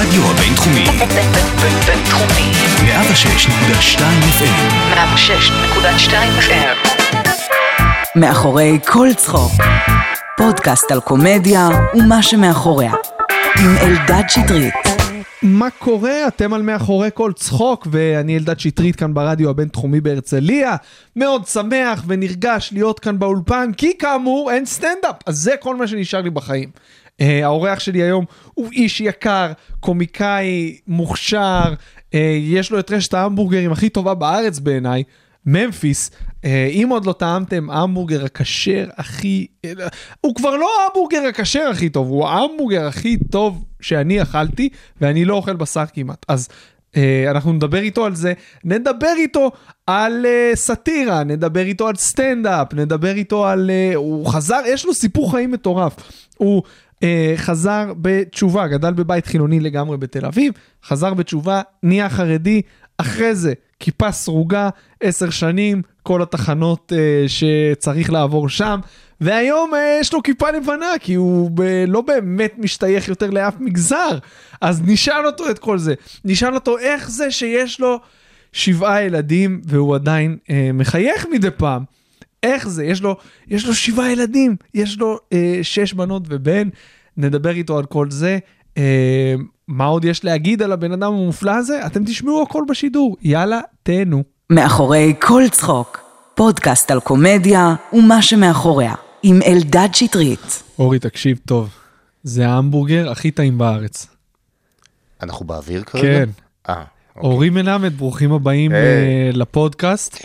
בינתחומי. בינתחומי, 106.2 FM 106.2 FM. מאחורי כל צחוק. פודקאסט על קומדיה ומה שמאחוריה. עם אלדד שטרית. מה קורה? אתם על מאחורי כל צחוק, ואני אלדד שטרית כאן ברדיו הבינתחומי בהרצליה. מאוד שמח ונרגש להיות כאן באולפן, כי כאמור אין סטנדאפ, אז זה כל מה שנשאר לי בחיים. Uh, האורח שלי היום הוא איש יקר, קומיקאי, מוכשר, uh, יש לו את רשת ההמבורגרים הכי טובה בארץ בעיניי, ממפיס. Uh, אם עוד לא טעמתם, ההמבורגר הכשר הכי... אה, הוא כבר לא ההמבורגר הכשר הכי טוב, הוא ההמבורגר הכי טוב שאני אכלתי, ואני לא אוכל בשר כמעט. אז אה, אנחנו נדבר איתו על זה, נדבר איתו על אה, סאטירה, נדבר איתו על סטנדאפ, נדבר איתו על... אה, הוא חזר, יש לו סיפור חיים מטורף. הוא אה, חזר בתשובה, גדל בבית חילוני לגמרי בתל אביב, חזר בתשובה, נהיה חרדי, אחרי זה כיפה סרוגה, עשר שנים, כל התחנות אה, שצריך לעבור שם, והיום אה, יש לו כיפה לבנה, כי הוא ב- לא באמת משתייך יותר לאף מגזר. אז נשאל אותו את כל זה. נשאל אותו איך זה שיש לו שבעה ילדים והוא עדיין אה, מחייך מדי פעם. איך זה? יש לו, יש לו שבעה ילדים, יש לו אה, שש בנות ובן. נדבר איתו על כל זה. אה, מה עוד יש להגיד על הבן אדם המופלא הזה? אתם תשמעו הכל בשידור. יאללה, תהנו. מאחורי כל צחוק. פודקאסט על קומדיה ומה שמאחוריה. עם אלדד שטרית. אורי, תקשיב טוב. זה ההמבורגר הכי טעים בארץ. אנחנו באוויר כרגע? כן. אה, אורי מלמד, ברוכים הבאים אה, לפודקאסט.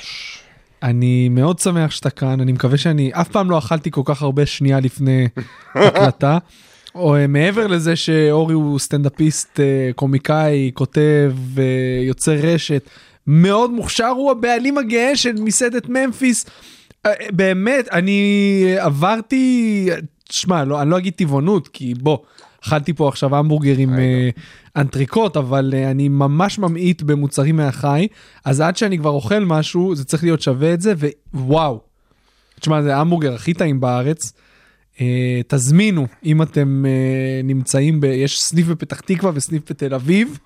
אני מאוד שמח שאתה כאן, אני מקווה שאני אף פעם לא אכלתי כל כך הרבה שנייה לפני הקלטה. או, אה, מעבר לזה שאורי הוא סטנדאפיסט, אה, קומיקאי, כותב, אה, יוצר רשת, מאוד מוכשר, הוא הבעלים הגאה של מסעדת ממפיס. אה, אה, באמת, אני אה, עברתי, שמע, לא, אני לא אגיד טבעונות, כי בוא, אכלתי פה עכשיו המבורגר עם אה, אנטריקוט, אבל אה, אני ממש ממעיט במוצרים מהחי, אז עד שאני כבר אוכל משהו, זה צריך להיות שווה את זה, ווואו. תשמע, זה ההמבורגר הכי טעים בארץ. אה, תזמינו, אם אתם אה, נמצאים, ב... יש סניף בפתח תקווה וסניף בתל אביב.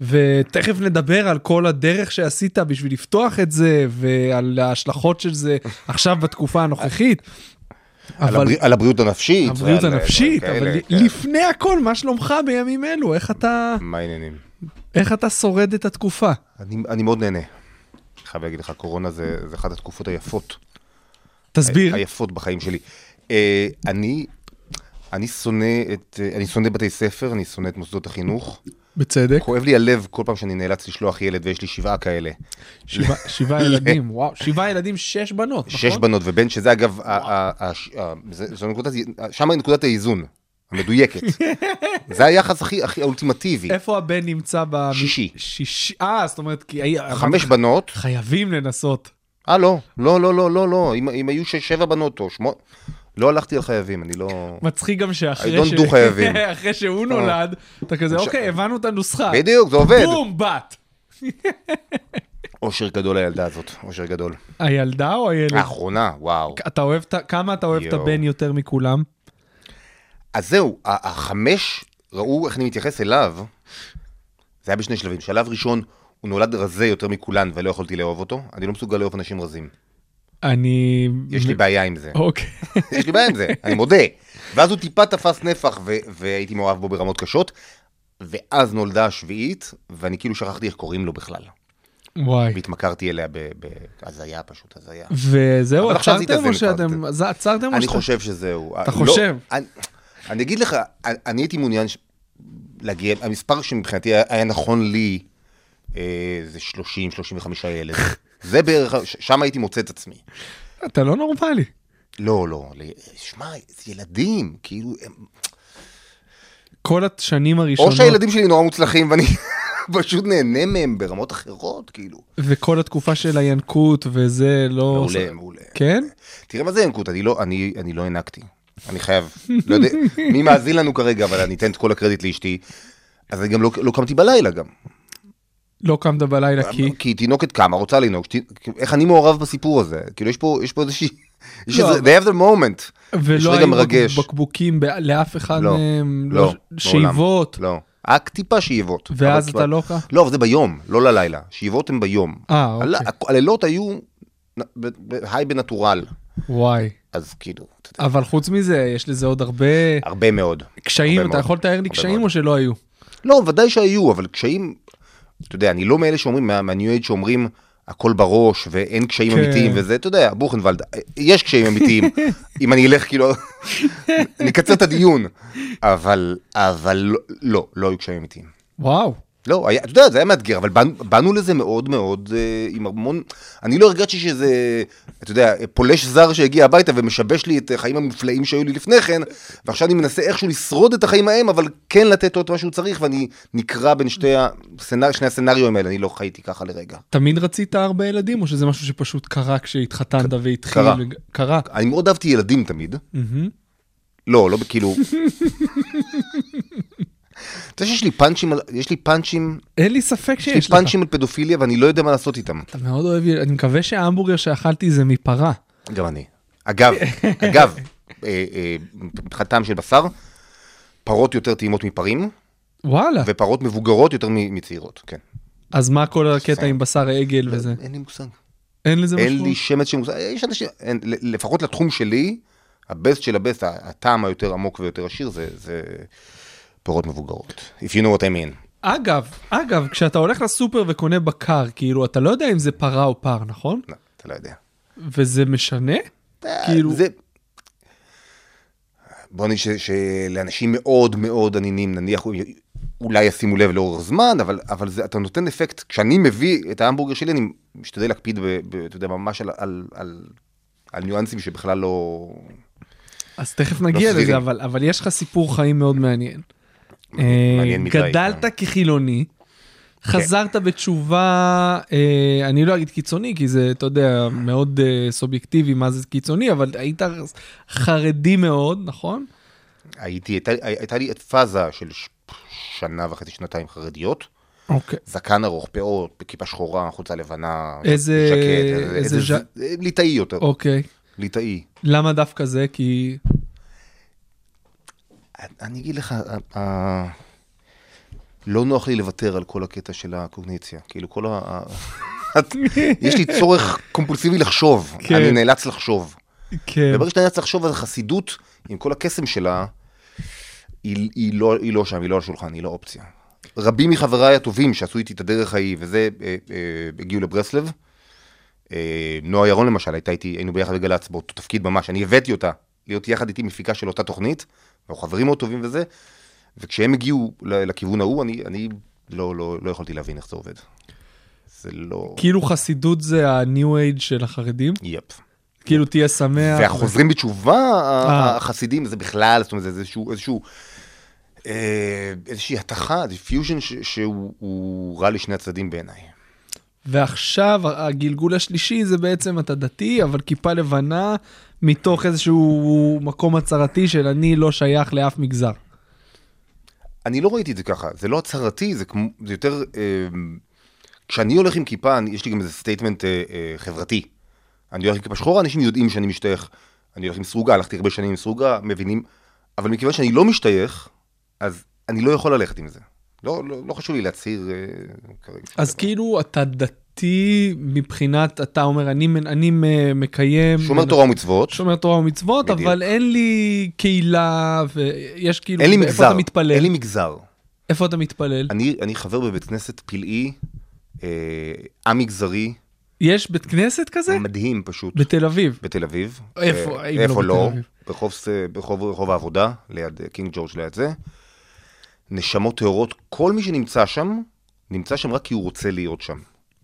ותכף נדבר על כל הדרך שעשית בשביל לפתוח את זה, ועל ההשלכות של זה עכשיו בתקופה הנוכחית. על, הבריא, על הבריאות הנפשית. הבריאות ועל- הנפשית, ועל אבל כאלה, כן. לפני הכל, מה שלומך בימים אלו? איך אתה, מה העניינים? איך אתה שורד את התקופה? אני, אני מאוד נהנה. חייב להגיד לך, קורונה זה, זה אחת התקופות היפות. תסביר. היפות בחיים שלי. אה, אני, אני שונא את, אה, אני שונא בתי ספר, אני שונא את מוסדות החינוך. בצדק. כואב לי הלב כל פעם שאני נאלץ לשלוח ילד, ויש לי שבעה כאלה. נכון. שבעה- שבעה ילדים, וואו, שבעה ילדים, שש בנות, נכון? אה, שש בנות ובן, שזה אגב, ה- ה- ה- ה- זה- זו נקודת, שם היא נקודת האיזון, המדויקת. זה היחס הכי, הכי האולטימטיבי. איפה הבן נמצא ב... שישי. שישי. אה, זאת אומרת, כי... היה- חמש בנות, חייבים לנסות. אה, לא, לא, לא, לא, לא, לא, אם, אם היו שש, שבע בנות או שמונה, לא הלכתי על חייבים, אני לא... מצחיק גם שאחרי I don't do חייבים. אה. אחרי שהוא נולד, אתה כזה, עכשיו- אוקיי, הבנו את הנוסחה. בדיוק, זה עובד. בום, בת. אושר גדול הילדה הזאת, אושר גדול. הילדה או הילד? האחרונה, וואו. אתה אוהב, את ה- כמה אתה אוהב את יואו. הבן יותר מכולם? אז זהו, ה- החמש, ראו איך אני מתייחס אליו, זה היה בשני שלבים. שלב ראשון, הוא נולד רזה יותר מכולן ולא יכולתי לאהוב אותו, אני לא מסוגל לאהוב אנשים רזים. אני... יש לי בעיה עם זה, אוקיי. יש לי בעיה עם זה, אני מודה. ואז הוא טיפה תפס נפח ו- והייתי מאוהב בו ברמות קשות, ואז נולדה השביעית, ואני כאילו שכחתי איך קוראים לו בכלל. וואי. והתמכרתי אליה ב- בהזיה פשוט, הזיה. וזהו, אבל עכשיו זה עצרתם או התאזן כבר, שאתם... זה- עצרתם או אני שאתם... חושב שזהו. אתה חושב? אני, אני אגיד לך, אני, אני הייתי מעוניין ש... להגיע, המספר שמבחינתי היה, היה נכון לי, אה, זה 30-35 ילד. זה בערך, ש- שם הייתי מוצא את עצמי. אתה לא נורמלי. לא, לא, ל- שמע, זה ילדים, כאילו, הם... כל השנים הראשונות... או שהילדים שלי נורא מוצלחים ואני פשוט נהנה מהם ברמות אחרות, כאילו. וכל התקופה של הינקות וזה לא... מעולה, מעולה. כן? תראה מה זה ינקות, אני לא, אני, אני לא הענקתי. אני חייב, לא יודע, מי מאזין לנו כרגע, אבל אני אתן את כל הקרדיט לאשתי. אז אני גם לא, לא קמתי בלילה גם. לא קמת בלילה כי... כי תינוקת קמה, רוצה לנהוג, שת... איך אני מעורב בסיפור הזה? כאילו יש פה, יש פה איזושהי... יש לא, איזה, they have the moment. יש ולא רגע היו מרגש. בקבוק- בקבוקים ב- לאף אחד לא, מהם, לא, שאיבות. מעולם, לא. רק טיפה שאיבות. ואז אבל אתה כבר- לא ככה? לא, אבל זה ביום, לא ללילה. שאיבות הן ביום. אה, אוקיי. הל- הלילות היו נ- ב- ב- היי בנטורל. וואי. אז כאילו, אתה יודע, אבל חוץ מזה, יש לזה עוד הרבה הרבה מאוד. קשיים, הרבה אתה מאוד, יכול לתאר לי הרבה קשיים מאוד. או שלא היו? לא, ודאי שהיו, אבל קשיים, אתה יודע, אני לא מאלה שאומרים, מה- מהניו אייד שאומרים, הכל בראש ואין קשיים כן. אמיתיים וזה, אתה יודע, בוכנוולד, יש קשיים אמיתיים, אם אני אלך כאילו, אני אקצר את הדיון, אבל, אבל לא, לא, לא היו קשיים אמיתיים. וואו. לא, היה, אתה יודע, זה היה מאתגר, אבל באנו, באנו לזה מאוד מאוד אה, עם המון... אני לא הרגשתי שזה, אתה יודע, פולש זר שהגיע הביתה ומשבש לי את החיים המופלאים שהיו לי לפני כן, ועכשיו אני מנסה איכשהו לשרוד את החיים ההם, אבל כן לתת עוד מה שהוא צריך, ואני נקרע בין שתי, הסנר, שני הסצנריו האלה, אני לא חייתי ככה לרגע. תמיד רצית הרבה ילדים, או שזה משהו שפשוט קרה כשהתחתנת והתחיל? קרה. לג- קרה. אני מאוד אהבתי ילדים תמיד. מהמם. לא, לא כאילו... אתה יודע שיש לי פאנצ'ים, על- יש לי פאנצ'ים, אין לי ספק יש לי שיש לך. פאנצ'ים על פדופיליה ואני לא יודע מה לעשות איתם. אתה מאוד אוהב, יל- אני מקווה שההמבורגר שאכלתי זה מפרה. גם אני. אגב, אגב, אה, אה, מבחינת טעם של בשר, פרות יותר טעימות מפרים, וואלה. ופרות מבוגרות יותר מ- מצעירות, כן. אז מה כל הקטע עם בשר העגל וזה? אין לי מושג. אין לזה משמעות? אין לי שמץ של מושג. יש אנשים, אין, ל- לפחות לתחום שלי, הבסט של הבסט, ה- הטעם היותר עמוק ויותר עשיר זה- זה פירות מבוגרות. If you know what I mean. אגב, אגב, כשאתה הולך לסופר וקונה בקר, כאילו, אתה לא יודע אם זה פרה או פר, נכון? לא, אתה לא יודע. וזה משנה? אה, כאילו, זה... בוא נגיד ש- שלאנשים מאוד מאוד עניינים, נניח אולי ישימו לב לאורך זמן, אבל, אבל זה, אתה נותן אפקט, כשאני מביא את ההמבורגר שלי, אני משתדל להקפיד, ב, ב, אתה יודע, ממש על, על, על, על ניואנסים שבכלל לא... אז תכף נגיע סבירים. לזה, אבל, אבל יש לך סיפור חיים מאוד מעניין. אה, מעניין מדי. כן. גדלת כחילוני, חזרת בתשובה, אה, אני לא אגיד קיצוני, כי זה, אתה יודע, מאוד אה, סובייקטיבי מה זה קיצוני, אבל היית חרדי מאוד, נכון? הייתי, הייתה, הייתה לי את פאזה של ש- שנה וחצי, שנתיים חרדיות, אוקיי. זקן ארוך, פאות, כיפה שחורה, חולצה לבנה, איזה- איזה ז'ק- ז- ליטאי יותר, אוקיי. ליטאי. למה דווקא זה? כי... אני אגיד לך, ה- ה- לא נוח לי לוותר על כל הקטע של הקוגניציה. כאילו, כל ה... ה- יש לי צורך קומפולסיבי לחשוב, כן. אני נאלץ לחשוב. כן. וברגע שאתה נאלץ לחשוב, אז החסידות, עם כל הקסם שלה, היא, היא, לא, היא לא שם, היא לא על השולחן, היא לא אופציה. רבים מחבריי הטובים שעשו איתי את הדרך ההיא, וזה, אה, אה, הגיעו לברסלב. אה, נועה ירון למשל, הייתה איתי, היינו ביחד בגל"צ באותו תפקיד ממש, אני הבאתי אותה להיות יחד איתי מפיקה של אותה תוכנית, ואנחנו חברים מאוד טובים וזה, וכשהם הגיעו ל- לכיוון ההוא, אני, אני לא, לא, לא יכולתי להבין איך זה עובד. זה לא... כאילו חסידות זה הניו אייג' של החרדים? יפ. כאילו תהיה שמח. והחוזרים בתשובה, אה. החסידים, זה בכלל, זאת אומרת, זה איזשהו, איזשהו, אה, איזושהי התכה, זה פיוז'ן ש- שהוא הוא רע לשני הצדדים בעיניי. ועכשיו הגלגול השלישי זה בעצם אתה דתי, אבל כיפה לבנה, מתוך איזשהו מקום הצהרתי של אני לא שייך לאף מגזר. אני לא ראיתי את זה ככה, זה לא הצהרתי, זה, כמו, זה יותר... אה, כשאני הולך עם כיפה, אני, יש לי גם איזה סטייטמנט אה, אה, חברתי. אני הולך עם כיפה שחורה, אנשים יודעים שאני משתייך. אני הולך עם סרוגה, הלכתי הרבה שנים עם סרוגה, מבינים. אבל מכיוון שאני לא משתייך, אז אני לא יכול ללכת עם זה. לא, לא, לא חשוב לי להצהיר אה, כרגע. אז כאילו אתה דתי מבחינת, אתה אומר, אני, מנ- אני מ- מקיים... שומר מנ- תורה ומצוות. שומר תורה ומצוות, בדיוק. אבל אין לי קהילה, ויש כאילו... אין לי איפה מגזר, אתה מתפלל? אין לי מגזר. איפה אתה מתפלל? אני, אני חבר בבית כנסת פלאי, אה, א-מגזרי, יש בית כנסת כזה? מדהים פשוט, בתל אביב. בתל אביב. איפה, אה, אם לא איפה בתל לא? אביב? ברחוב, ס- ברחוב, ברחוב העבודה, ליד אה, קינג ג'ורג' ליד זה. נשמות טהורות, כל מי שנמצא שם, נמצא שם רק כי הוא רוצה להיות שם.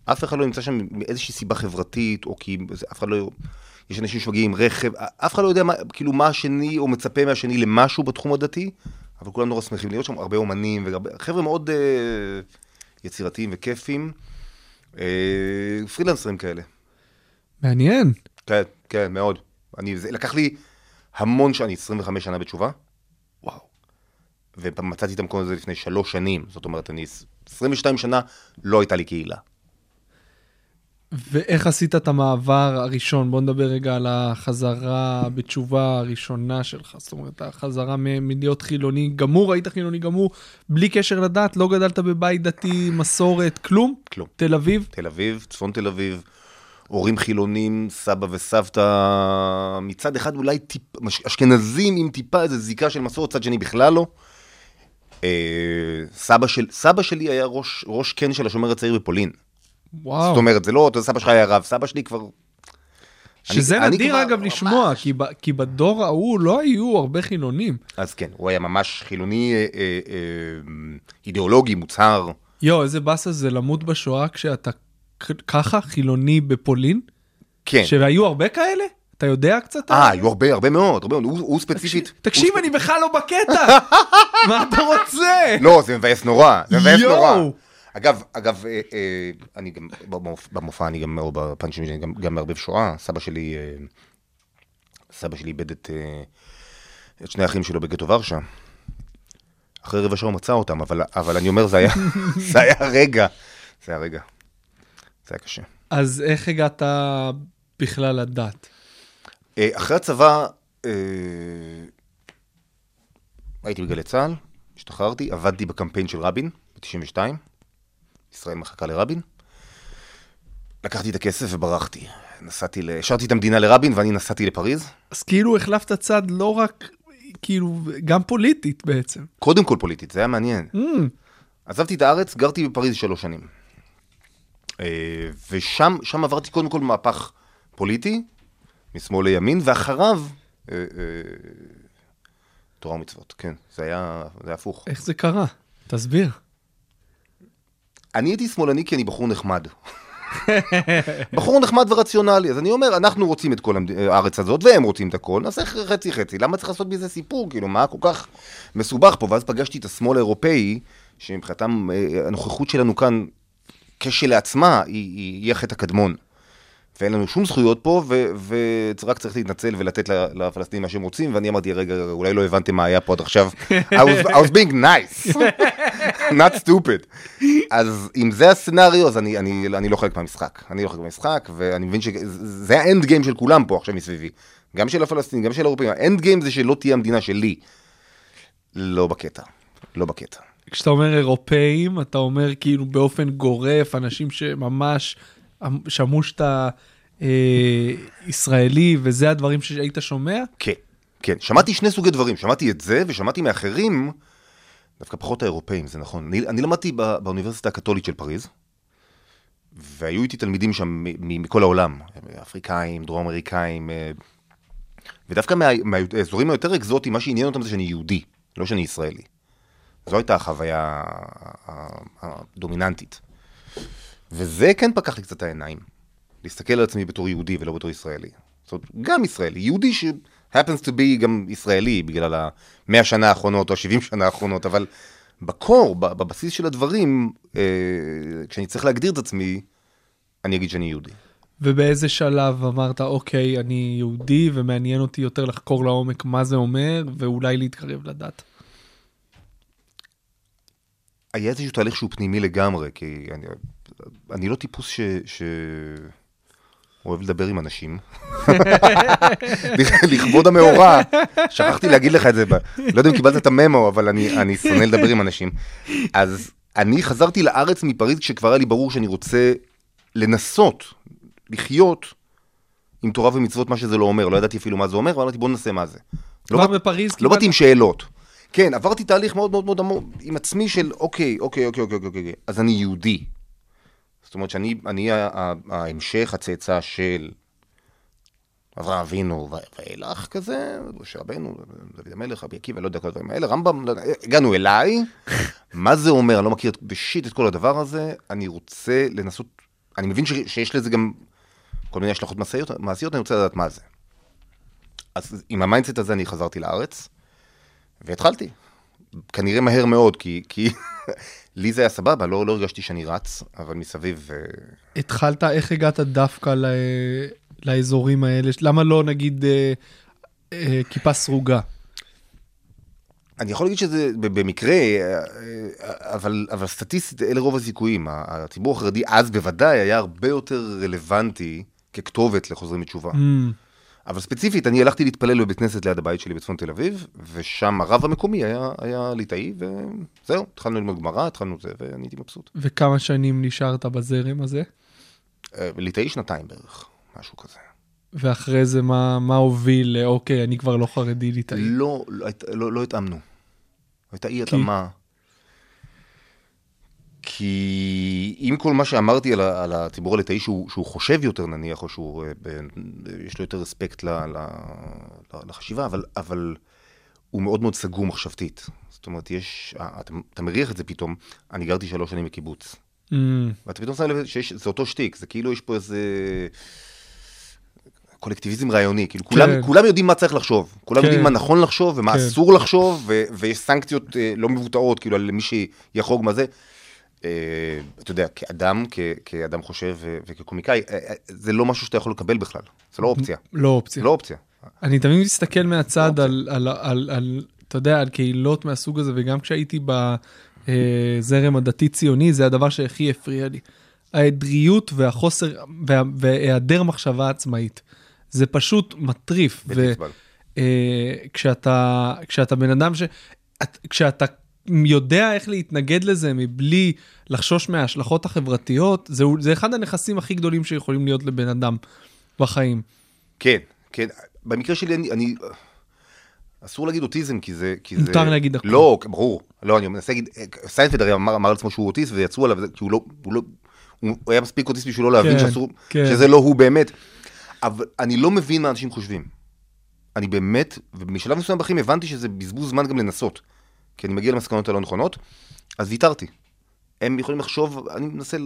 אף אחד לא נמצא שם מאיזושהי סיבה חברתית, או כי זה- אף אחד לא... יש אנשים שמגיעים עם רכב, אף אחד לא יודע מה, כאילו מה השני, או מצפה מהשני למשהו בתחום הדתי, אבל כולם נורא שמחים להיות שם, הרבה אומנים, וחבר'ה מאוד אה, יצירתיים וכיפים, אה, פרילנסרים כאלה. מעניין. כן, כן, מאוד. אני, זה לקח לי המון שנים, 25 שנה בתשובה. וואו. ומצאתי את המקום הזה לפני שלוש שנים, זאת אומרת, אני 22 שנה, לא הייתה לי קהילה. ואיך עשית את המעבר הראשון? בוא נדבר רגע על החזרה בתשובה הראשונה שלך. זאת אומרת, החזרה מ- מלהיות חילוני גמור, היית חילוני גמור, בלי קשר לדת, לא גדלת בבית דתי, מסורת, כלום? כלום. תל אביב? תל אביב, צפון תל אביב, הורים חילונים, סבא וסבתא, מצד אחד אולי טיפ, מש- אשכנזים עם טיפה איזה זיקה של מסורת, צד שני בכלל לא. אה, סבא, של, סבא שלי היה ראש, ראש קן של השומר הצעיר בפולין. וואו. זאת אומרת, זה לא, אתה יודע, סבא שלך היה רב, סבא שלי כבר... שזה אני- אני נדיר כבר- אגב לשמוע, כי ב- כי בדור ההוא לא היו הרבה חילונים. אז כן, הוא היה ממש חילוני אה, אה, אה, אידיאולוגי, מוצהר. יואו, איזה באסה זה למות בשואה כשאתה כ- ככה חילוני בפולין? כן. שהיו הרבה כאלה? אתה יודע קצת? אה, היו הרבה, הרבה מאוד, הרבה מאוד. הוא, הוא ספציפית... תקשיב, הוא אני בכלל לא בקטע! מה אתה רוצה? לא, זה מבאס נורא, זה מבאס יואו. נורא. אגב, אגב, אה, אה, אני גם, במופ- במופע אני גם, או בפאנצ'ים שלי, אני גם- גם מערבב שואה, סבא שלי, אה, סבא שלי איבד את אה, את שני האחים שלו בגטו ורשה. אחרי רבע שעה הוא מצא אותם, אבל- אבל אני אומר, זה היה, זה היה רגע, זה היה רגע. זה היה קשה. אז איך הגעת בכלל לדת? אה, אחרי הצבא, אה, הייתי בגלי צה"ל, השתחררתי, עבדתי בקמפיין של רבין, ב-92, ישראל מחכה לרבין. לקחתי את הכסף וברחתי. נסעתי, ל- השארתי את המדינה לרבין ואני נסעתי לפריז. אז כאילו החלפת צד לא רק, כאילו, גם פוליטית בעצם. קודם כל פוליטית, זה היה מעניין. עזבתי את הארץ, גרתי בפריז שלוש שנים. אה, ושם שם עברתי קודם כל מהפך פוליטי, משמאל לימין, ואחריו, אה, אה, תורה ומצוות, כן, זה היה, זה היה הפוך. איך זה קרה? תסביר. אני הייתי שמאלני כי אני בחור נחמד. בחור נחמד ורציונלי, אז אני אומר, אנחנו רוצים את כל המד- הארץ הזאת, והם רוצים את הכל, נעשה חצי חצי, למה צריך לעשות מזה סיפור? כאילו, מה כל כך מסובך פה? ואז פגשתי את השמאל האירופאי, שמבחינתם, אה, הנוכחות שלנו כאן, כשלעצמה, היא, היא, היא החטא הקדמון. ואין לנו שום זכויות פה, ו- ורק צריך להתנצל ולתת ל- לפלסטינים מה שהם רוצים, ואני אמרתי, רגע, רגע, אולי לא הבנתם מה היה פה עד עכשיו. I was, I was being nice, not stupid. אז אם זה הסצנריו, אז אני, אני, אני לא חלק מהמשחק. אני לא חלק מהמשחק, ואני מבין שזה האנד גיים של כולם פה עכשיו מסביבי. גם של הפלסטינים, גם של האירופאים. האנד גיים זה שלא תהיה המדינה שלי. לא בקטע. לא בקטע. כשאתה אומר אירופאים, אתה אומר כאילו באופן גורף, אנשים שממש אמ, שמעו שאתה אה, ישראלי, וזה הדברים שהיית שומע? כן, כן. שמעתי שני סוגי דברים, שמעתי את זה ושמעתי מאחרים, דווקא פחות האירופאים, זה נכון. אני, אני למדתי בא, באוניברסיטה הקתולית של פריז, והיו איתי תלמידים שם מ- מ- מכל העולם, אפריקאים, דרום אמריקאים, אה, ודווקא מה- מהאזורים היותר אקזוטיים, מה שעניין אותם זה שאני יהודי, לא שאני ישראלי. זו הייתה החוויה ה- ה- הדומיננטית. וזה כן פקח לי קצת את העיניים. להסתכל על עצמי בתור יהודי ולא בתור ישראלי. זאת אומרת, גם ישראלי, יהודי ש- happens to be גם ישראלי בגלל ה-100 שנה האחרונות או ה-70 שנה האחרונות, אבל בקור, ב- בבסיס של הדברים, אה, כשאני צריך להגדיר את עצמי, אני אגיד שאני יהודי. ובאיזה שלב אמרת, אוקיי, אני יהודי ומעניין אותי יותר לחקור לעומק מה זה אומר, ואולי להתקרב לדת. היה איזשהו תהליך שהוא פנימי לגמרי, כי אני, אני לא טיפוס ש... ש... אוהב לדבר עם אנשים. לכבוד המאורע, שכחתי להגיד לך את זה, ב- לא יודע אם קיבלת את הממו, אבל אני, אני שונא לדבר עם אנשים. אז אני חזרתי לארץ מפריז כשכבר היה לי ברור שאני רוצה לנסות לחיות עם תורה ומצוות, מה שזה לא אומר. לא ידעתי אפילו מה זה אומר, אבל אמרתי בוא ננסה מה זה. לא כבר בא- בפריז לא קיבלת- באתי עם שאלות. כן, עברתי תהליך מאוד מאוד מאוד עמוק עם עצמי של אוקיי, אוקיי, אוקיי, אוקיי, אוקיי, אוקיי, אז אני יהודי. זאת אומרת שאני אני ה- ה- ההמשך, הצאצא של אברהם אבינו ו- ואילך כזה, משה רבנו, דוד המלך, רבי עקיבא, לא יודע, כל הדברים האלה, רמב"ם, לא יודע, הגענו אליי, מה זה אומר, אני לא מכיר את- בשיט את כל הדבר הזה, אני רוצה לנסות, אני מבין ש- שיש לזה גם כל מיני השלכות מעשיות, מעשיות, אני רוצה לדעת מה זה. אז עם המיינדסט הזה אני חזרתי לארץ, והתחלתי. כנראה מהר מאוד, כי, כי לי זה היה סבבה, לא, לא הרגשתי שאני רץ, אבל מסביב... אה, התחלת, איך הגעת דווקא ל... לאזורים האלה? למה לא נגיד אה, אה, כיפה סרוגה? אני יכול להגיד שזה ב- במקרה, אה, אה, אבל, אבל סטטיסטית אלה רוב הזיכויים. ה- הציבור החרדי אז בוודאי היה הרבה יותר רלוונטי ככתובת לחוזרים בתשובה. אבל ספציפית, אני הלכתי להתפלל בבית כנסת ליד הבית שלי בצפון תל אביב, ושם הרב המקומי היה, היה ליטאי, וזהו, התחלנו ללמוד גמרא, התחלנו זה, ואני הייתי מבסוט. וכמה שנים נשארת בזרם הזה? אה, ליטאי שנתיים בערך, משהו כזה. ואחרי זה מה, מה הוביל לאוקיי, אני כבר לא חרדי ליטאי. לא, לא, היית- לא, לא התאמנו. הייתה אי התאמה. כי אם כל מה שאמרתי על, ה- על הציבור הליטאי, שהוא, שהוא חושב יותר נניח, או שהוא, אה, ב, יש לו יותר רספקט ל, ל, ל- לחשיבה, אבל, אבל הוא מאוד מאוד סגור מחשבתית. זאת אומרת, יש, אה, אתה, אתה מריח את זה פתאום, אני גרתי שלוש שנים בקיבוץ. Mm, ואתה פתאום שם לב שיש, זה אותו שטיק, זה כאילו יש פה איזה קולקטיביזם רעיוני, כאילו כולם, כן. כולם יודעים מה צריך לחשוב, כולם כן. יודעים מה נכון לחשוב ומה כן. אסור לחשוב, ו, ויש סנקציות אה, לא מבוטאות, כאילו על מי שיחרוג מה זה. אה, אתה יודע, כאדם, כ, כאדם חושב ו, וכקומיקאי, אה, אה, זה לא משהו שאתה יכול לקבל בכלל, זה לא אופציה, לא אופציה. זה לא אופציה. אני תמיד מסתכל מהצד אוקיי. על, על, על, על, אתה יודע, על קהילות מהסוג הזה, וגם כשהייתי אה, בזרם הדתי-ציוני, זה הדבר שהכי הפריע לי. העדריות והחוסר, וה, והיעדר מחשבה עצמאית. זה פשוט מטריף. בלתי נסבל. אה, כשאתה, כשאתה בן אדם ש... את, כשאתה יודע איך להתנגד לזה מבלי לחשוש מההשלכות החברתיות, זה, זה אחד הנכסים הכי גדולים שיכולים להיות לבן אדם בחיים. כן, כן. במקרה שלי אני, אני... אסור להגיד אוטיזם, כי זה... כי זה... מותר להגיד הכל. לא, ברור. לא, אני מנסה להגיד... סיינפלד הרי אמר, אמר על עצמו שהוא אוטיסט, ויצאו עליו, כי הוא לא... הוא לא... הוא היה מספיק אוטיסט בשביל לא להבין כן, שאסור... כן. שזה לא הוא באמת. אבל אני לא מבין מה אנשים חושבים. אני באמת, ובשלב מסוים בחיים הבנתי שזה בזבוז זמן גם לנסות. כי אני מגיע למסקנות הלא נכונות, אז ויתרתי. הם יכולים לחשוב, אני מנסה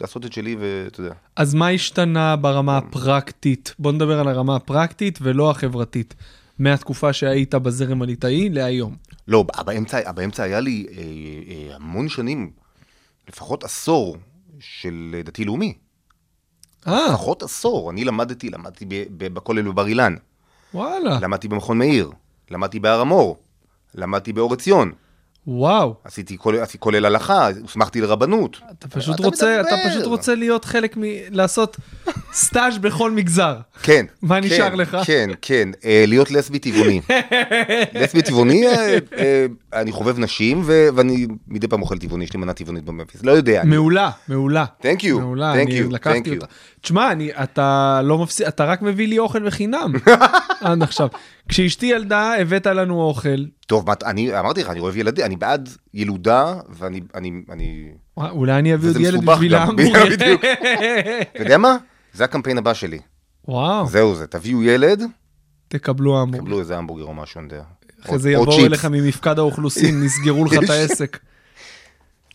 לעשות את שלי, ואתה יודע. אז מה השתנה Mm. ברמה הפרקטית? בוא נדבר על הרמה הפרקטית ולא החברתית. מהתקופה שהיית בזרם הליטאי להיום. לא, באמצע, באמצע היה לי אה, אה, המון שנים, לפחות עשור, של דתי-לאומי. אה, לפחות עשור. אני למדתי, למדתי ב- ב- בכולל בבר אילן, וואלה, למדתי במכון מאיר, למדתי בהר המור, למדתי באור עציון, וואו. עשיתי כולל, עשיתי כולל הלכה, הוסמכתי לרבנות. אתה פשוט אתה רוצה, אתה מדבר. פשוט רוצה להיות חלק מ... לעשות סטאז' בכל מגזר. כן. מה כן, נשאר לך? כן, כן, אה, להיות לסבי טבעוני. לסבי טבעוני, אה, אה, אני חובב נשים, ו- ואני מדי פעם אוכל טבעוני, יש לי מנה טבעונית במפיס, לא יודע. אני- מעולה, מעולה. Thank you, מעולה, thank אני you, thank לקחתי you. אותה. תשמע, אני- אתה לא מפסיק, אתה רק מביא לי אוכל בחינם עד עכשיו. כשאשתי ילדה, הבאת לנו אוכל. טוב, מה, אני אמרתי לך, אני אוהב ילדים, אני בעד ילודה, ואני, אני, אני, וואי, אולי אני אביא עוד וזה ילד מסובך בשביל גם, ההמבורגר. בדיוק. אתה יודע מה? זה הקמפיין הבא שלי. וואו, זהו זה, תביאו ילד, תקבלו המבורגר. קבלו איזה המבורגר או משהו, אני יודע. אחרי זה או- או יבואו צ'יפס. אליך ממפקד האוכלוסין, נסגרו לך את העסק.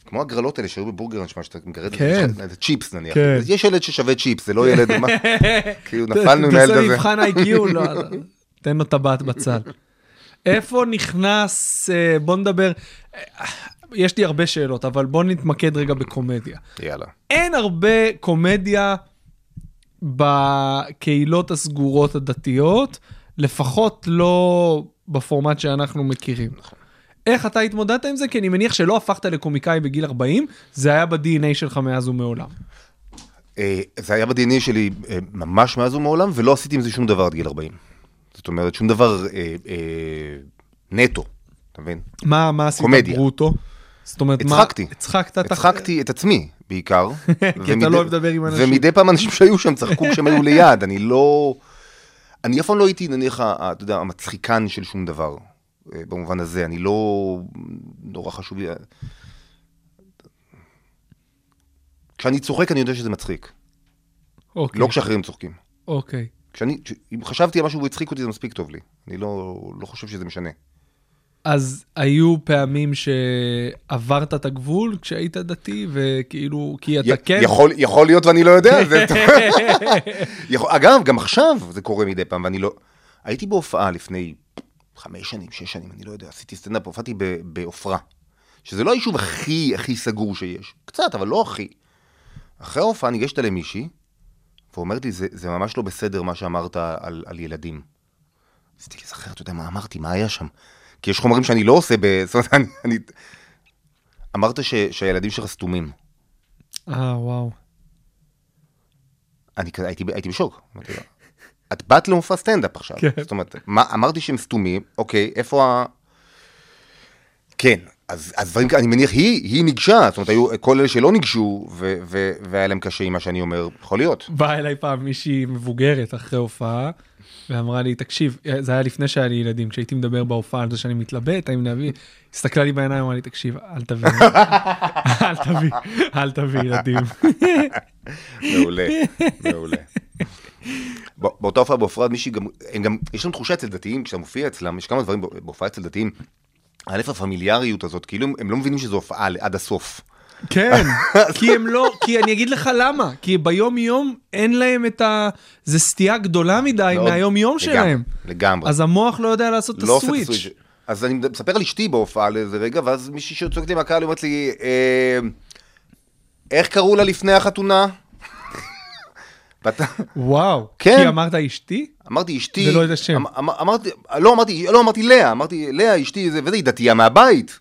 כמו הגרלות האלה שהיו בבורגר, נשמע שאתה מגרד את כן. זה, זה צ'יפס נניח. כן. אז יש ילד ששווה צ'יפס, זה לא ילד, מה- כאילו נפלנו עם הילד תעשה לי הזה. מבחן IQ, לא, לא. תן לו טבעת בצד. איפה נכנס, אה, בוא נדבר, אה, יש לי הרבה שאלות, אבל בוא נתמקד רגע בקומדיה. יאללה. אין הרבה קומדיה בקהילות הסגורות הדתיות, לפחות לא בפורמט שאנחנו מכירים. נכון. איך אתה התמודדת עם זה? כי אני מניח שלא הפכת לקומיקאי בגיל 40, זה היה ב-DNA שלך מאז ומעולם. אה, זה היה ב-DNA שלי אה, ממש מאז ומעולם, ולא עשיתי עם זה שום דבר עד גיל 40. זאת אומרת, שום דבר אה, אה, נטו, אתה מבין? מה, מה עשית קומדיה. ברוטו? זאת אומרת, מה... הצחקתי. הצחקת. אתה- הצחקתי את עצמי בעיקר. כי אתה לא אוהב לדבר עם אנשים. ומדי פעם אנשים שהיו שם צחקו כשהם היו ליד, אני לא... אני אף פעם לא הייתי נניח, ה- ה- אתה יודע, המצחיקן של שום דבר, אה, במובן הזה, אני לא... נורא חשוב לי... כשאני צוחק אני יודע שזה מצחיק, אוקיי, לא כשאחרים צוחקים. אוקיי. כשאני, כש- אם חשבתי על משהו והוא הצחיק אותי זה מספיק טוב לי, אני לא, לא חושב שזה משנה. אז היו פעמים שעברת את הגבול כשהיית דתי, וכאילו, כי אתה י- כן... יכול, יכול להיות ואני לא יודע, זה טוב. יכול, אגב, גם עכשיו זה קורה מדי פעם, ואני לא... הייתי בהופעה לפני חמש שנים, שש שנים, אני לא יודע, עשיתי סטנדאפ, הופעתי ב- בעופרה, שזה לא היישוב הכי הכי סגור שיש, קצת, אבל לא הכי. אחרי ההופעה ניגשת למישהי, ואומרת לי, זה, זה ממש לא בסדר מה שאמרת על, על ילדים. רציתי להיזכר, אתה יודע מה אמרתי, מה היה שם? כי יש חומרים שאני לא עושה ב... זאת אומרת, אני... אני... אמרת ש... שהילדים שלך סתומים. אה, וואו. אני כזה, הייתי, הייתי בשוק. אמרתי לה, את באת למופע סטנדאפ עכשיו. כן. זאת אומרת, מה, אמרתי שהם סתומים, אוקיי, איפה ה... כן, אז, אז דברים כאלה, אני מניח, היא, היא ניגשה, זאת אומרת, היו כל אלה שלא ניגשו, ו, ו, והיה להם קשה עם מה שאני אומר, יכול להיות. באה אליי פעם מישהי מבוגרת אחרי הופעה, ואמרה לי, תקשיב, זה היה לפני שהיה לי ילדים, כשהייתי מדבר בהופעה על זה שאני מתלבט, האם להביא, הסתכלה לי בעיניים, אמרה לי, תקשיב, אל תביא, אל תביא, אל תביא ילדים. מעולה, מעולה. ב- באותה הופעה בהופעה מישהי גם, הם גם, יש לנו תחושה אצל דתיים, כשאתה מופיע אצלם, יש כמה דברים ב- בהופעה אצל דתיים, א', הפמיליאריות הזאת, כאילו הם- הם לא מבינים שזו הופעה עד הסוף. כן, כי הם לא, כי אני אגיד לך למה, כי ביום יום אין להם את ה... זה סטייה גדולה מדי מאוד. מהיום יום לגמרי, שלהם. לגמרי. אז המוח לא יודע לעשות את לא עושה את הסוויץ'. הסוויץ'. אז אני מספר על אשתי בהופעה לאיזה רגע, ואז מישהי שצועקת לי מהקהל, היא אומרת לי, "אה, איך קראו לה לפני החתונה? ואתה, וואו, כן. כי אמרת אשתי? אמרתי, אשתי... ולא את השם. אמ- אמ- אמרתי, לא אמרתי, לא אמרתי לאה, אמרתי, לאה, אשתי, זה, וזה, היא דתייה מהבית.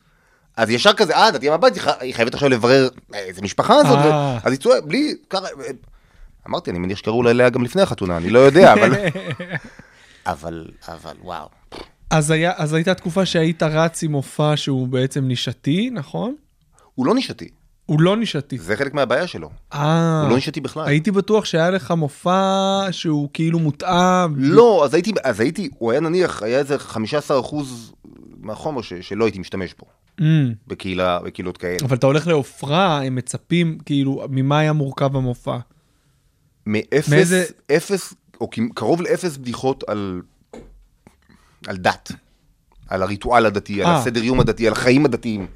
אז ישר כזה, אה, דתייה מהבית, היא חי- היא חייבת עכשיו לברר אה, איזה משפחה הזאת. ו- אה. אז היא צועקת, בלי... ככה, אה, אמרתי, אני מניח שקראו לה לאה גם לפני החתונה, אני לא יודע, אבל... אבל, אבל, וואו. אז, היה, אז הייתה תקופה שהיית רץ עם מופע שהוא בעצם נישתי, נכון? הוא לא נישתי, הוא לא נישתי. זה חלק מהבעיה שלו. אה, הוא לא נישתי בכלל. הייתי בטוח שהיה לך מופע שהוא כאילו מותאם. לא, אז הייתי, אז הייתי, הוא היה נניח, היה איזה 15% מהחומר ש, שלא הייתי משתמש בו, Mm, בקהילה, בקהילות כאלה. אבל אתה הולך לעופרה, הם מצפים, כאילו, ממה היה מורכב המופע? מאפס, מאיזה- אפס, או כמ- קרוב לאפס בדיחות על, על דת, על הריטואל הדתי, על אה. כן הסדר יום הדתי, על החיים הדתיים.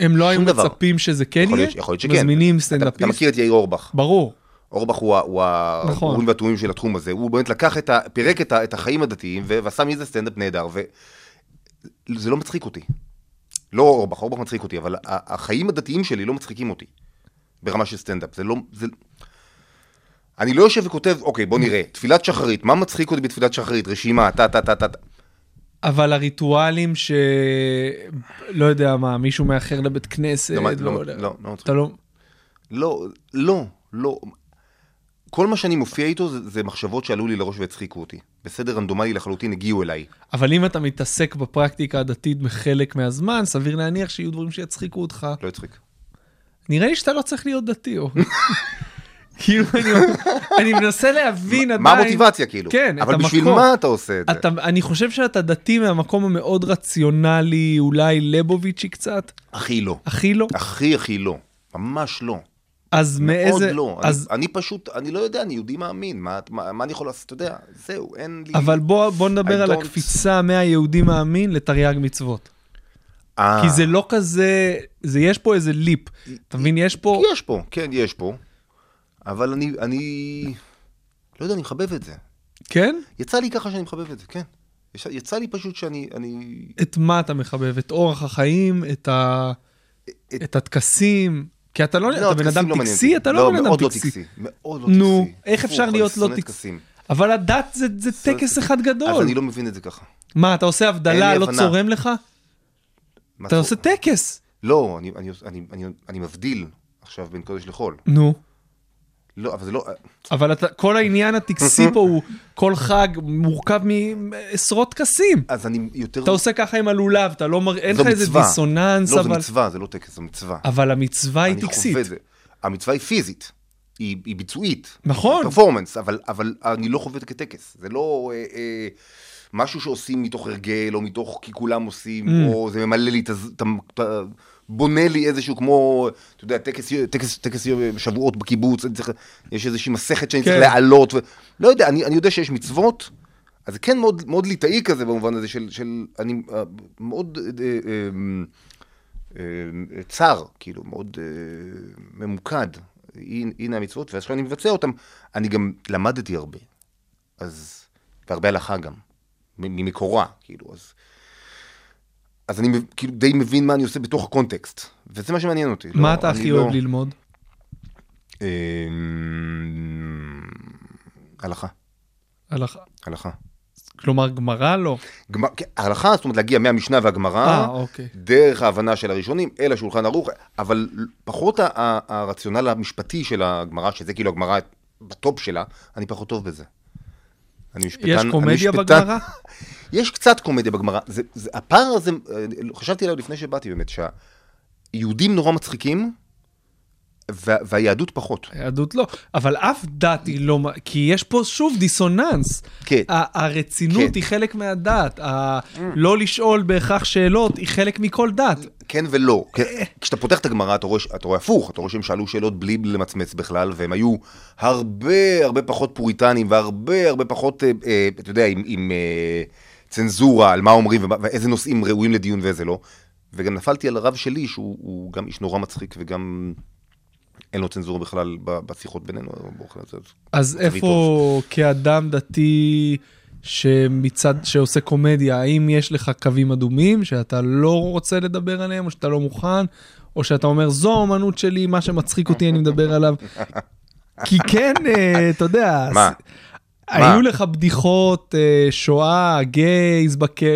הם לא היו שום דבר. מצפים שזה כן יכול יהיה? להיות, יכול להיות שכן. מזמינים אתה, אתה סטנדאפיסט? מכיר את יאיר אורבך. ברור. אורבך הוא ה- הוא נכון. האורים והתומים של התחום הזה, הוא באמת לקח את ה... פירק את, ה, את החיים הדתיים ו- ועשה מזה סטנדאפ נהדר, וזה לא מצחיק אותי. לא אורבך, אורבך מצחיק אותי, אבל ה- החיים הדתיים שלי לא מצחיקים אותי ברמה של סטנדאפ, זה לא... זה... אני לא יושב וכותב, אוקיי, בוא נראה, תפילת שחרית, מה מצחיק אותי בתפילת שחרית? רשימה, טה טה טה טה. טה." אבל הריטואלים ש... לא יודע מה, מישהו מאחר לבית כנסת, לא, לא לא, יודע. לא, לא מצחיק. אתה לא... לא, לא, לא. כל מה שאני מופיע איתו זה, זה מחשבות שעלו לי לראש והצחיקו אותי. בסדר רנדומלי לחלוטין הגיעו אליי. אבל אם אתה מתעסק בפרקטיקה הדתית בחלק מהזמן, סביר להניח שיהיו דברים שיצחיקו אותך. לא הצחיק. נראה לי שאתה לא צריך להיות דתי, או... כאילו, אני, אני מנסה להבין עדיין... מה המוטיבציה כאילו? כן, את אבל בשביל המקום. מה אתה עושה את זה? אתה, אני חושב שאתה דתי מהמקום המאוד רציונלי, אולי לבוביצ'י קצת, הכי לא. הכי לא. הכי הכי לא. ממש לא. אז מאוד מאיזה... לא. אז, אני אני פשוט, אני לא יודע, אני יהודי מאמין. מה- מה מה אני יכול לעשות? אתה יודע, זהו, אין לי... אבל בוא, בוא נדבר I על don't- הקפיצה מהיהודי מאמין לתרי"ג מצוות. אה, כי זה לא כזה, זה יש פה איזה ליפ. אתה מבין, יש פה... יש פה, כן, יש פה. אבל אני, אני... לא יודע, אני מחבב את זה. כן? יצא לי ככה שאני מחבב את זה, כן. יש- יצא לי פשוט שאני... אני... את מה אתה מחבב? את אורח החיים, את, ה... את- את הטקסים? כי אתה לא, אתה בן הטקסים אדם לא מעניין טקסי? אותי. אתה לא בן אדם מאוד לא טקסי. טקסי. מאוד לא טקסי. נו, איך הפוך, אפשר אני להיות לא שונא טקסי? טקסים. אבל הדת זה- זה שונא טקס טקסים. אחד אז גדול. אני לא מבין את זה ככה. מה, אתה עושה הבדלה, אין לי לא הבנה. צורם לך? מה אתה צור- עושה טקס. לא, אני, אני, אני, אני, אני מבדיל עכשיו בין קודש לחול. נו. לא, אבל זה לא... אבל אתה, כל העניין הטקסי פה הוא, כל חג מורכב מעשרות טקסים. אז אני יותר... אתה עושה ככה עם הלולב, אתה לא מראה, אין זו לך איזה מצווה. דיסוננס, לא, זו אבל... מצווה, זה לא טקס, זו מצווה. אבל המצווה היא אני טקסית. חווה את זה. המצווה היא פיזית, היא, היא ביצועית. נכון. פרפורמנס, אבל, אבל אני לא חווה את זה כטקס. זה לא אה, אה, משהו שעושים מתוך הרגל, או מתוך כי כולם עושים, או זה ממלא לי את הז... את ה- את ה- בונה לי איזשהו כמו, אתה יודע, טקס, טקס, טקס שבועות בקיבוץ, אני צריך, יש איזושהי מסכת שאני כן. צריך להעלות, ו... לא יודע, אני, אני יודע שיש מצוות, אז זה כן מאוד, מאוד ליטאי כזה במובן הזה של, של אני אה, מאוד אה, אה, אה, צר, כאילו, מאוד אה, ממוקד. הנה- הנה המצוות, ועכשיו אני מבצע אותן. אני גם למדתי הרבה, אז, והרבה הלכה גם, מ- ממקורה, כאילו, אז... אז אני מב- כאילו די מבין מה אני עושה בתוך הקונטקסט, וזה מה שמעניין אותי. מה לא, אתה אני הכי לא- אוהב ללמוד? אמ, הלכה, הלכה. הלכה. כלומר, גמרא לא. גמר, כן, ההלכה, זאת אומרת להגיע מהמשנה אה, והגמרא, אוקיי. דרך ההבנה של הראשונים, אל השולחן ערוך, אבל פחות ה- ה- הרציונל המשפטי של הגמרא, שזה כאילו הגמרא בטופ שלה, אני פחות טוב בזה. אני משפטן, יש אני קומדיה משפטן- בגמרא? יש קצת קומדיה בגמרא. זה, זה, הפער הזה, אה, חשבתי עליו לפני שבאתי באמת, שהיהודים נורא מצחיקים, וה, והיהדות פחות. היהדות לא. אבל אף דת היא לא... מ- כי יש פה שוב דיסוננס. כן. ה- הרצינות כן. היא חלק מהדת. ה- לא לשאול בהכרח שאלות היא חלק מכל דת. כן ולא. כן, כשאתה פותח את הגמרא, אתה רואה, ש- אתה רואה הפוך, אתה רואה שהם שאלו שאלות בלי למצמץ בכלל, והם היו הרבה הרבה פחות פוריטנים, והרבה הרבה פחות, אה, אה, אתה יודע, עם, עם אה, צנזורה על מה אומרים ומה- ואיזה נושאים ראויים לדיון ואיזה לא. וגם נפלתי על הרב שלי, שהוא הוא גם איש נורא מצחיק וגם אין לו צנזורה בכלל ב- בשיחות בינינו. באוכל הזה. אז מצבי איפה כאדם דתי שמצד, שעושה קומדיה, האם יש לך קווים אדומים שאתה לא רוצה לדבר עליהם, או שאתה לא מוכן, או שאתה אומר, זו האומנות שלי, מה שמצחיק אותי אני מדבר עליו? כי כן, אה, אתה יודע, מה? אז- היו מה? לך בדיחות, אה, שואה, גייז בכלא,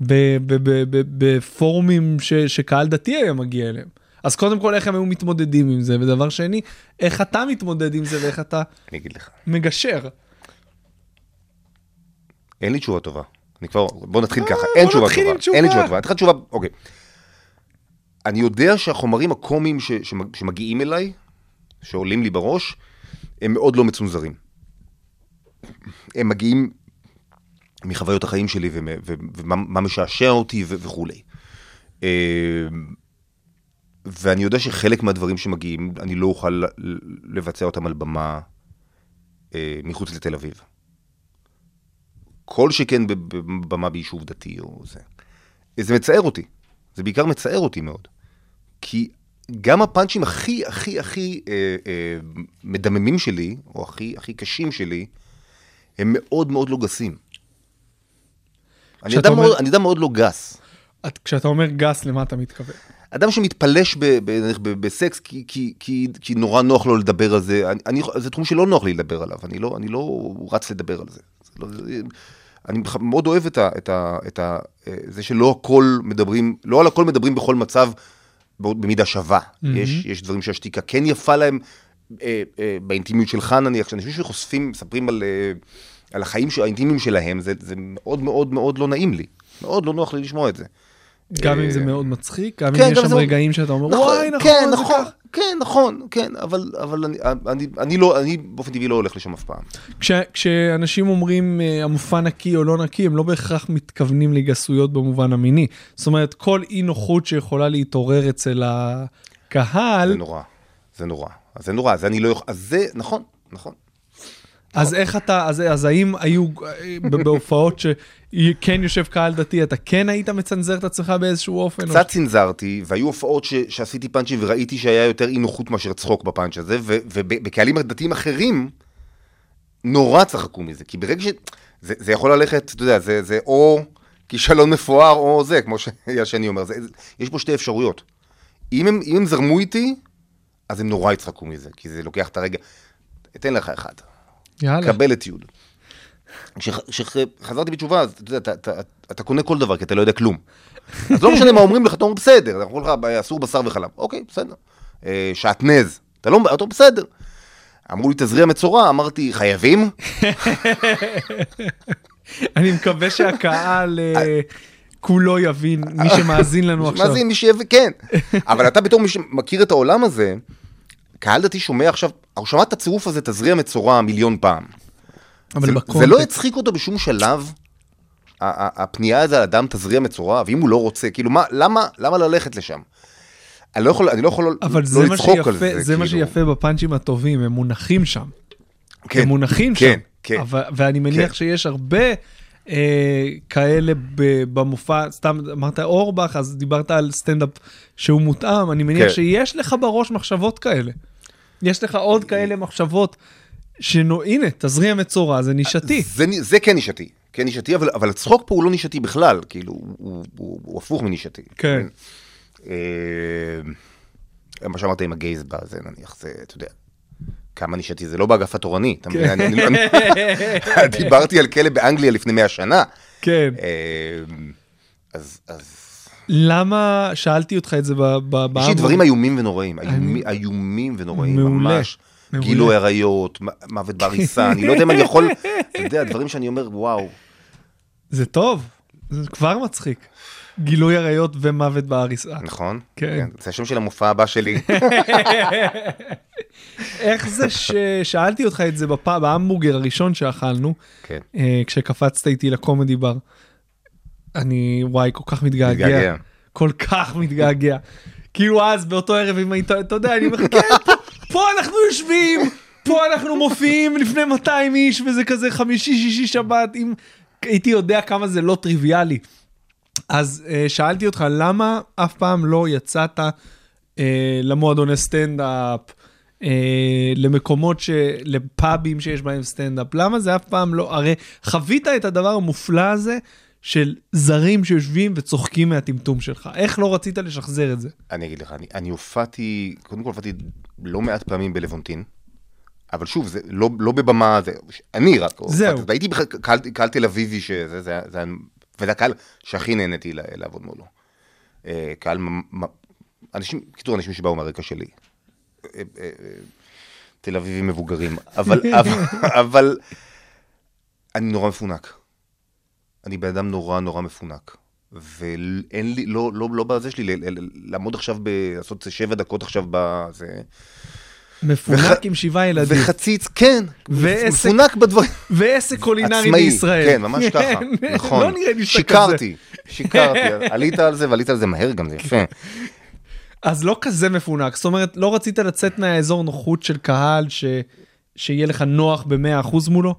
ב- ב- ב- ב- בפורומים ש- שקהל דתי היה מגיע אליהם. אז קודם כל, איך הם היו מתמודדים עם זה, ודבר שני, איך אתה מתמודד עם זה ואיך אתה אני אגיד לך, מגשר. אין לי תשובה טובה. אני כבר, בוא נתחיל ככה, אין תשובה אה, נתחיל עם טובה, אין לי תשובה. תשובה טובה, אני אתחיל תשובה, אוקיי. אני יודע שהחומרים הקומיים ש- שמג- שמגיעים אליי, שעולים לי בראש, הם מאוד לא מצונזרים. הם מגיעים מחוויות החיים שלי ומה- ו- ומה מה משעשע אותי ו- וכולי. אה, ואני יודע שחלק מהדברים שמגיעים, אני לא אוכל ל- לבצע אותם על במה אה, מחוץ לתל אביב. כל שכן בבמה ביישוב דתי או זה. זה מצער אותי, זה בעיקר מצער אותי מאוד. כי גם הפאנצ'ים הכי הכי הכי אה, אה, מדממים שלי, או הכי הכי קשים שלי, הם מאוד מאוד לא גסים. אני כשאתה אדם, אומר- מאוד, אני אדם מאוד לא גס. את- כשאתה אומר גס, למה אתה מתכוון? אדם שמתפלש ב, ב, ב, בסקס כי, כי, כי, כי נורא נוח לו לדבר על זה, אני, אני, זה תחום שלא נוח לי לדבר עליו, אני לא, אני לא רץ לדבר על זה. זה, לא, זה אני בח- מאוד אוהב את, ה, את, ה, את ה, אה, זה שלא הכל מדברים, לא על הכל מדברים בכל מצב בעוד- במידה שווה. Mm-hmm. יש, יש דברים שהשתיקה כן יפה להם, אה, אה, באינטימיות שלך נניח, כשאנשים שחושפים, מספרים על, אה, על החיים ש- האינטימיים שלהם, זה, זה מאוד מאוד מאוד לא נעים לי, מאוד לא נוח לי לשמוע את זה. גם אם זה אה, מאוד מצחיק, גם אם כן, יש גם שם זה- רגעים שאתה אומר, וואי, נכון, כן, זה נכון, ככה." כן, נכון, כן, אבל, אבל אני, אני, אני לא, אני באופן טבעי לא הולך לשם אף פעם. כש- כשאנשים אומרים אה, המופע נקי או לא נקי, הם לא בהכרח מתכוונים לגסויות במובן המיני. זאת אומרת, כל אי נוחות שיכולה להתעורר אצל זה הקהל, נורא, זה נורא, אז זה נורא, אז אני לא יכול, אז זה, נכון, נכון. אז איך אתה, אז, אז האם היו אה, ב- בהופעות שכן יושב קהל דתי, אתה כן היית מצנזר את עצמך באיזשהו אופן? או קצת צנזרתי, והיו הופעות ש, שעשיתי פאנצ'ים וראיתי שהיה יותר אי נוחות מאשר צחוק בפאנץ' הזה, ו- ובקהלים דתיים אחרים, נורא צחקו מזה, כי ברגע ש... זה, זה יכול ללכת, אתה יודע, זה, זה או כישלון מפואר או זה, כמו שהשני אומר, זה, יש פה שתי אפשרויות. אם הם, אם הם זרמו איתי, אז הם נורא יצחקו מזה, כי זה לוקח את הרגע. אתן לך אחד, יאללה. קבל את יוד. כשחזרתי בתשובה, אז אתה יודע, אתה- אתה- אתה קונה כל דבר, כי אתה לא יודע כלום. אז לא משנה מה אומרים לך, אתה אומר בסדר, אנחנו אומרים לך, אסור בשר וחלב. אוקיי, בסדר. אה, שעטנז, אתה לא, אתה אומר, בסדר. אמרו לי, תזריע מצורע, אמרתי, חייבים? אני מקווה שהקהל אה, כולו יבין, מי שמאזין לנו עכשיו. מה זה אה, מי שיביא, כן. אבל אתה בתור מי שמכיר את העולם הזה, קהל דתי שומע עכשיו, הוא שמע את הצירוף הזה, תזריע מצורע מיליון פעם. אבל זה, בקונטקסט. זה לא יצחיק אותו בשום שלב, ה- ה- הפנייה הזו על אדם תזריע מצורע, ואם הוא לא רוצה, כאילו, מה, למה, למה ללכת לשם? אני לא יכול, אני לא יכול אבל לא זה מה לצחוק שיפה, על זה, זה מה כאילו. שיפה בפאנצ'ים הטובים, הם מונחים שם. כן, הם מונחים כן, שם. כן. אבל, ואני מניח כן. שיש הרבה אה, כאלה ב, במופע, סתם אמרת אורבך, אז דיברת על סטנדאפ שהוא מותאם, אני מניח כן. שיש לך בראש מחשבות כאלה. יש לך עוד כאלה מחשבות, שנו, הנה, תזריע מצורע, זה נישתי. זה, נ- זה כן נישתי, כן נישתי, אבל, אבל הצחוק פה הוא לא נישתי בכלל, כאילו, הוא, הוא, הוא, הוא הפוך מנישתי. כן. אה, מה שאמרת עם הגייז בזה, נניח, זה, אתה יודע. כמה נשעתי, זה לא באגף התורני, אתה מבין? כן. אני- אני- אני- דיברתי על כלא באנגליה לפני 100 שנה. כן. אה, אז, אז למה שאלתי אותך את זה ב- ב- יש בעם? לי דברים איומים ונוראים, איומי- איומים ונוראים, מעולה, ממש. מעולה. גילוי עריות, מ- מוות בעריסה, אני לא יודע אם אני יכול, אתה יודע, דברים שאני אומר, וואו, זה טוב, זה כבר מצחיק. גילוי עריות ומוות בעריסה. נכון? כן. זה השם של המופע הבא שלי. איך זה ששאלתי אותך את זה בפ- בהמבורגר הראשון שאכלנו, כן. אה, כשקפצת איתי לקומדי בר. אני וואי כל כך מתגעגע, מתגעגע. כל כך מתגעגע. כאילו אז באותו ערב אם היית, אתה יודע, אני מחכה, פה, פה אנחנו יושבים, פה אנחנו מופיעים לפני 200 איש וזה כזה חמישי, שישי, שבת, אם הייתי יודע כמה זה לא טריוויאלי. אז אה, שאלתי אותך למה אף פעם לא יצאת אה, למועדוני סטנדאפ, אה, למקומות, ש... לפאבים שיש בהם סטנדאפ, למה זה אף פעם לא, הרי חווית את הדבר המופלא הזה של זרים שיושבים וצוחקים מהטמטום שלך, איך לא רצית לשחזר את זה? אני אגיד לך, אני, אני הופעתי, קודם כל הופעתי לא מעט פעמים בלוונטין, אבל שוב, זה לא, לא בבמה, זה, אני רק, זהו. הופעתי, הייתי בכלל קהל, קהל תל אביבי, שזה, זה, זה, וזה הקהל שהכי נהניתי לה- לעבוד מולו. אה, קהל, ממ- מ- אנשים, קיצור, אנשים שבאו מהרקע שלי. אה, אה, אה, תל אביבים מבוגרים, אבל, אבל, אבל אני נורא מפונק. אני בן אדם נורא נורא מפונק. ואין לי, לא, לא, לא בזה שלי, ל- ל- לעמוד עכשיו, ב, לעשות שבע דקות עכשיו בזה. מפונק עם שבעה ילדים, וחציץ, כן, ועסק- מפונק בדברים. ועסק קולינרי עצמאי, בישראל. כן, ממש ככה, כן, נכון. לא נראה לי שאתה כזה. שיקרתי, שיקרתי, עלית על זה ועלית על זה מהר גם, זה יפה. אז לא כזה מפונק, זאת אומרת, לא רצית לצאת מהאזור נוחות של קהל ש... שיהיה לך נוח ב-100% מולו?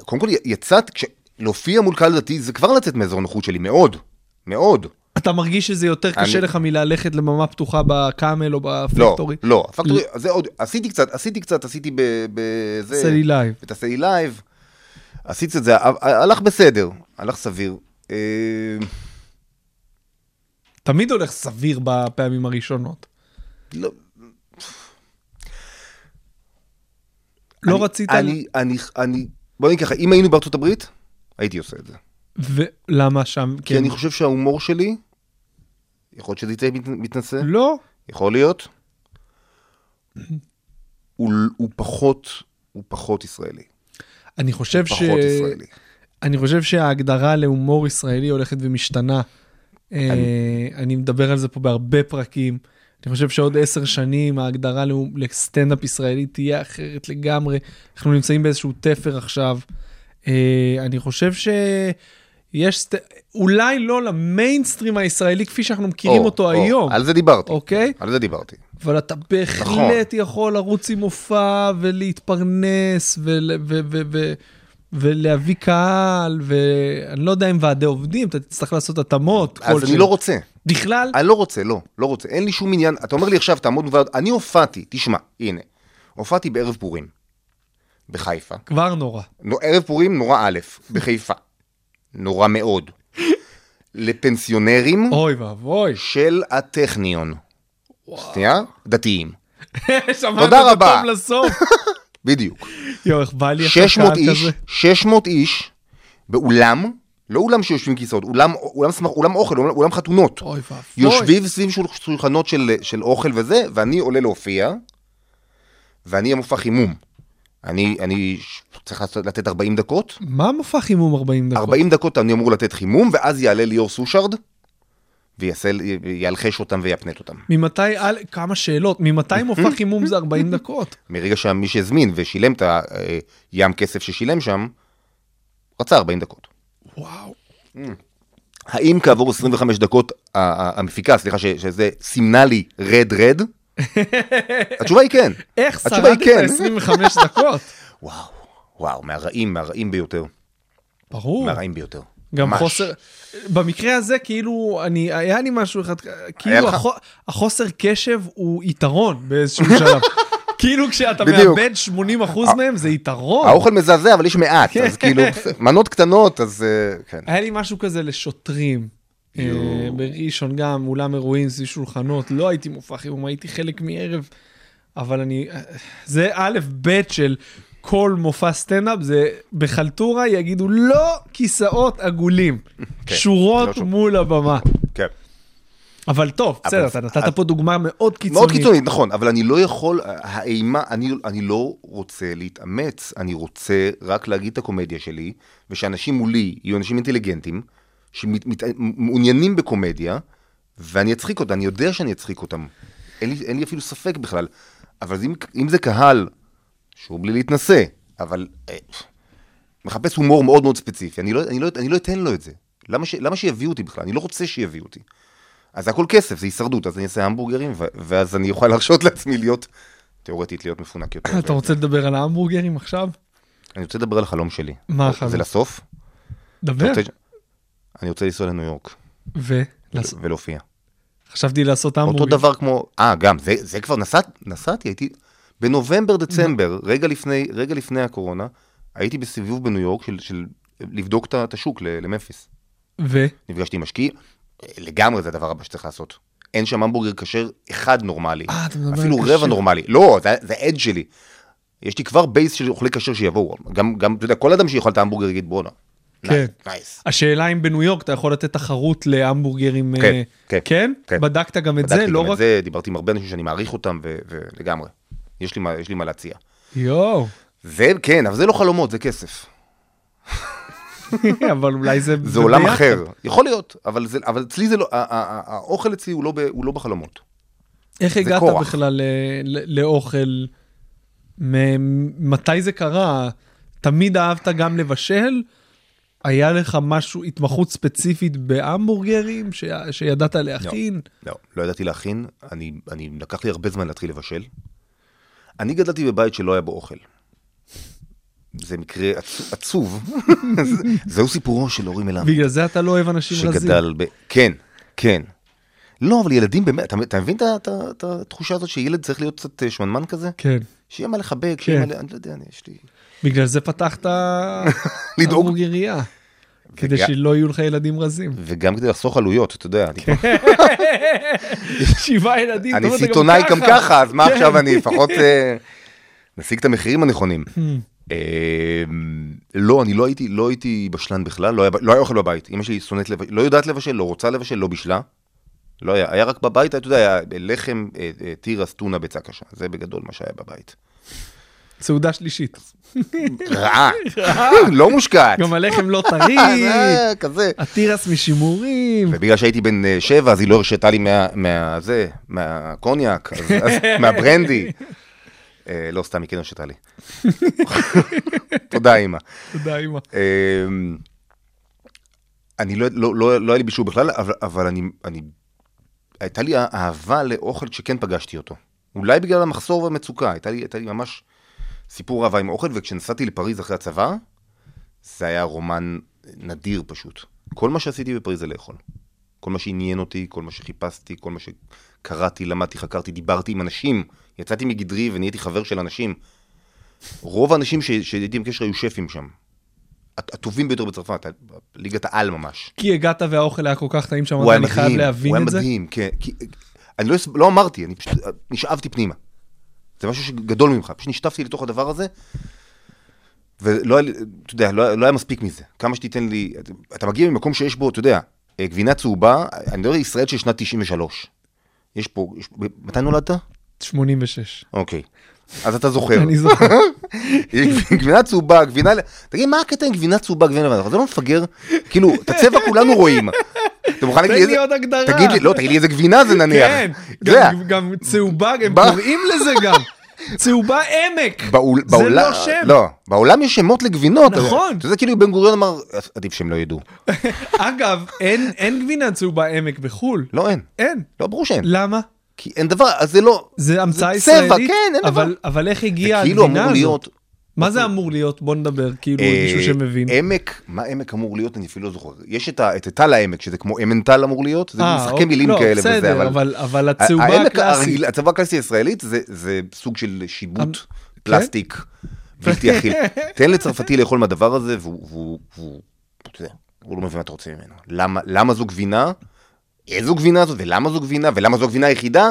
קודם כל יצאת, כש- להופיע מול קהל דתי זה כבר לצאת מאזור הנוחות שלי, מאוד, מאוד. אתה מרגיש שזה יותר קשה אני- לך מללכת לבמה פתוחה בקאמל או לא, בפקטורי? לא, הפקטורי, זה עוד, עשיתי קצת, עשיתי קצת, עשיתי בזה. עשה לי לייב. את הסי לייב, עשית את זה, ה- ה- הלך בסדר, הלך סביר. אה, תמיד הולך סביר בפעמים הראשונות. לא, לא אני- רצית... אני, אני, אני, בוא נגיד ככה, אם היינו בארצות הברית, הייתי עושה כן. את זה. ולמה שם? כן. כי אני חושב שההומור שלי, יכול להיות שזה יצא מת- מתנשא, לא. יכול להיות, הוא הוא פחות, הוא פחות ישראלי. אני חושב ש... פחות ישראלי. אני חושב שההגדרה להומור ישראלי הולכת ומשתנה. אה, אני מדבר על זה פה בהרבה פרקים. אני חושב שעוד עשר שנים ההגדרה להומ- לסטנדאפ ישראלי תהיה אחרת לגמרי. אנחנו נמצאים באיזשהו תפר עכשיו. אה, אני חושב שיש, סט... אולי לא למיינסטרים הישראלי כפי שאנחנו מכירים או, אותו או, היום, על זה דיברתי, אוקיי? על זה דיברתי. אבל אתה נכון. בהחלט יכול לרוץ עם מופע ולהתפרנס ול, ו, ו, ו, ולהביא קהל, ואני לא יודע אם ועדי עובדים, אתה תצטרך לעשות התאמות. אז אני כלשהן. לא רוצה. בכלל, אני לא רוצה, לא, לא רוצה, אין לי שום עניין, אתה אומר לי עכשיו, תעמוד בוועד, אני הופעתי, תשמע, הנה, הופעתי בערב פורים, בחיפה, כבר נורא. נו, ערב פורים נורא א', בחיפה, נורא מאוד, לפנסיונרים אוי ואבוי. של הטכניון, שנייה, דתיים, שמעת תודה את רבה. הטוב לסוף. בדיוק, יואו, איך בא לי עכשיו 600 קהל איש, כזה. 600 איש, באולם, לא אולם שיושבים כיסאות, אולם, אולם, שמח- אולם אוכל, אולם, אולם חתונות, אוי ואבוי. יושבים סביב שול- שולחנות של, של אוכל וזה, ואני עולה להופיע, ואני המופע חימום. אני, אני ש- צריך לעשות- לתת 40 דקות, מה מופע חימום 40 דקות? 40 דקות אני אמור לתת חימום, ואז יעלה ליאור סושארד, ויעשה- וילחש אותם ויפנט אותם. ממתי, על... כמה שאלות, ממתי מופע חימום זה 40 דקות? מרגע שמי שהזמין ושילם את הים כסף ששילם שם, רצה 40 דקות. וואו. האם כעבור 25 דקות ה- ה- המפיקה, סליחה, ש- שזה סימנה לי רד רד? התשובה היא כן. איך התשובה היא שרדת כן. 25 דקות? וואו, וואו, מהרעים, מהרעים ביותר. ברור. מהרעים ביותר. גם ממש. חוסר, במקרה הזה כאילו, אני, היה לי משהו אחד, כאילו לך- הח, החוסר קשב הוא יתרון באיזשהו שלב. כאילו כשאתה בדיוק. מאבד 80% מהם זה יתרון. האוכל מזעזע, אבל יש מעט, כן. אז כאילו, מנות קטנות, אז אה, כן. היה לי משהו כזה לשוטרים. אה, בראשון גם, אולם אירועים סביב שולחנות, לא הייתי מופע חימום, הייתי חלק מערב. אבל אני... זה א' ב' של כל מופע סטנדאפ, זה בחלטורה יגידו לא כיסאות עגולים, כן, לא שורות שוב. מול הבמה. כן. אבל טוב, בסדר, אבל- אתה אז- נתת פה דוגמה מאוד קיצונית. מאוד קיצונית, נכון, אבל אני לא יכול, האימה, אני, אני לא רוצה להתאמץ, אני רוצה רק להגיד את הקומדיה שלי, ושאנשים מולי יהיו אנשים אינטליגנטים, שמעוניינים בקומדיה, ואני אצחיק אותם, אני יודע שאני אצחיק אותם. אין לי, אין לי אפילו ספק בכלל. אבל אז אם, אם זה קהל, שהוא בלי להתנשא, אבל אה, מחפש הומור מאוד מאוד ספציפי, אני לא, אני לא, אני לא אתן לו את זה. למה, ש, למה שיביאו אותי בכלל? אני לא רוצה שיביאו אותי. אז זה הכל כסף, זה הישרדות, אז אני אעשה המבורגרים, ו- ואז אני אוכל להרשות לעצמי להיות, תיאורטית, להיות מפונק יותר. אתה רוצה לדבר על ההמבורגרים עכשיו? אני רוצה לדבר על החלום שלי. מה החלום? זה לסוף? דבר. אתה רוצה- אני רוצה לנסוע לניו יורק ו... ו- ולהופיע. חשבתי לעשות אותו המבורגרים. דבר כמו, אה, גם, זה, זה כבר נסעת, נסעתי, הייתי, בנובמבר, דצמבר, רגע לפני, רגע לפני הקורונה, הייתי בסיבוב בניו יורק של, של לבדוק את ה- את השוק ל- לממפיס. ו... נפגשתי עם משקיעים, לגמרי זה הדבר הבא שצריך לעשות. אין שם המבורגר כשר אחד נורמלי. אה, אתה מדבר על אפילו כשר. רבע נורמלי. לא, זה- זה עד שלי. יש לי כבר בייס של אוכלי כשר שיבואו. גם, גם, אתה יודע, כל אדם שיאכל את ההמבורגר יגיד בואנה. כן. נייס. השאלה אם בניו יורק אתה יכול לתת תחרות להמבורגרים... כן, אה, כן, כן? כן. בדקת גם את זה, בדקתי לא גם את רק... זה, דיברתי עם הרבה אנשים שאני מעריך אותם, ו- ולגמרי. יש לי מה- יש לי מה להציע. יואו. זה כן, אבל זה לא חלומות, זה כסף. אבל אולי זה... זה עולם ביחד. אחר. יכול להיות, אבל זה- אבל אצלי זה לא, ה- ה- ה- האוכל אצלי הוא לא ב- הוא לא בחלומות. איך זה הגעת כורח. בכלל ל- ל- לאוכל? מ- מתי זה קרה? תמיד אהבת גם לבשל? היה לך משהו, התמחות ספציפית בהמבורגרים ש... שידעת להכין? לא, לא ידעתי להכין, אני, אני, לקח לי הרבה זמן להתחיל לבשל. אני גדלתי בבית שלא היה בו אוכל. זה מקרה עצ- עצוב, זה- זהו סיפורו של אורי מלמד, בגלל זה אתה לא אוהב אנשים רזים. שגדל ב... כן, כן. לא, אבל ילדים באמת, אתה, אתה מבין את ה- את ה- את התחושה הזאת שילד צריך להיות קצת אה, שמנמן כזה? כן. שיהיה מה לחבק, שיהיה כן. מה... ל- אני לא יודע, אני, יש לי... בגלל זה פתחת לדאוג. המבורגריה. כדי וגם- שלא כן. יהיו לך ילדים רזים. וגם כדי לחסוך עלויות, אתה יודע. אני- שבעה ילדים, אני טוב, אתה סיטונאי גם ככה, כן. אז מה עכשיו אני לפחות אה, נשיג את המחירים הנכונים. אה, לא, אני לא הייתי, לא הייתי בשלן בכלל, לא היה- לא היה אוכל בבית. אמא שלי שונאת לבשל, לא יודעת לבשל, לא רוצה לבשל, לא בישלה. לא היה, היה רק בבית, אתה יודע, היה לחם, אה, אה, תירס, טונה, ביצה קשה. זה בגדול מה שהיה בבית. סעודה שלישית. רעה, לא מושקעת. גם הלחם לא אה, טרי, זה, כזה. התירס משימורים. ובגלל שהייתי בן אה, שבע, אז היא לא הרשתה לי מה, מה זה, מהקוניאק, אז, אז, מהברנדי. אה, לא, סתם, היא כן הרשתה לי. תודה, אימא. תודה, אמא. אה, אני לא, לא, לא, לא היה לי בישול בכלל, אבל, אבל אני, אני... הייתה לי אהבה לאוכל שכן פגשתי אותו. אולי בגלל המחסור והמצוקה, הייתה לי, הייתה לי ממש סיפור אהבה עם אוכל, וכשנסעתי לפריז אחרי הצבא, זה היה רומן נדיר פשוט. כל מה שעשיתי בפריז זה לאכול. כל מה שעניין אותי, כל מה שחיפשתי, כל מה שקראתי, למדתי, חקרתי, דיברתי עם אנשים. יצאתי מגדרי ונהייתי חבר של אנשים. רוב האנשים ש- שהייתי בקשר היו שפים שם. הט- הטובים ביותר בצרפת, ה- ליגת העל ממש. כי הגעת והאוכל היה כל כך טעים שם, הוא היה אני מדהים, חייב להבין הוא היה את זה. מדהים, כן. כי- אני לא, הס- לא אמרתי, אני פשוט אה, נשאבתי פנימה. זה משהו שגדול ממך, פשוט נשטפתי לתוך הדבר הזה, ולא היה, לי- אתה יודע, לא, היה- לא היה מספיק מזה. כמה שתיתן לי, אתה, אתה מגיע ממקום שיש בו, אתה יודע, אה, גבינה צהובה, אני מדבר על ישראל של שנת 93. יש פה, יש, מתי נולדת? 86. אוקיי. אז אתה זוכר. אני זוכר. יש גבינה צהובה, גבינה... תגיד, מה הקטע עם גבינה צהובה, גבינה לבנה? זה לא מפגר? כאילו, את הצבע כולנו רואים. אתה מוכן להגיד תן לי לי עוד הגדרה. תגיד לי, לא, תגיד לי איזה גבינה זה נניח. כן, זה גם- היה. גם צהובה, הם בא- קוראים לזה גם. צהובה עמק. בעול- זה בעולם- לא שם. לא, בעולם יש שמות לגבינות. נכון. אתה יודע, כאילו בן גוריון אמר, עדיף שהם לא ידעו. אגב, אין- אין גבינה צהובה עמק בחו"ל. לא, אין. אין. לא, ברור שאין. למה? כי אין דבר, אז זה לא... זה המצאה צבע, ישראלית. כן, אין אבל- דבר. אבל איך זה הגיעה כאילו הגבינה אמור הזאת? להיות... מה זה אמור להיות? בוא נדבר, כאילו, מישהו אה, שמבין. עמק, מה עמק אמור להיות? אני אפילו לא זוכר. יש את ה- את טל העמק, שזה כמו אמנטל אמור להיות, זה אה, משחקי אוקיי, מילים לא, כאלה בסדר, וזה, אבל- אבל הצהובה העמק הקלאסית. הרגיל- הצהובה הקלאסית הישראלית זה- זה סוג של שיבוט, אמ- פלסטיק, בלתי אכיל. תן לצרפתי לאכול מהדבר הזה, והוא- והוא, והוא- אתה יודע, הוא לא מבין מה אתה רוצה ממנו. למה- למה זו גבינה? איזו גבינה זאת, ולמה זו גבינה, ולמה זו הגבינה היחידה?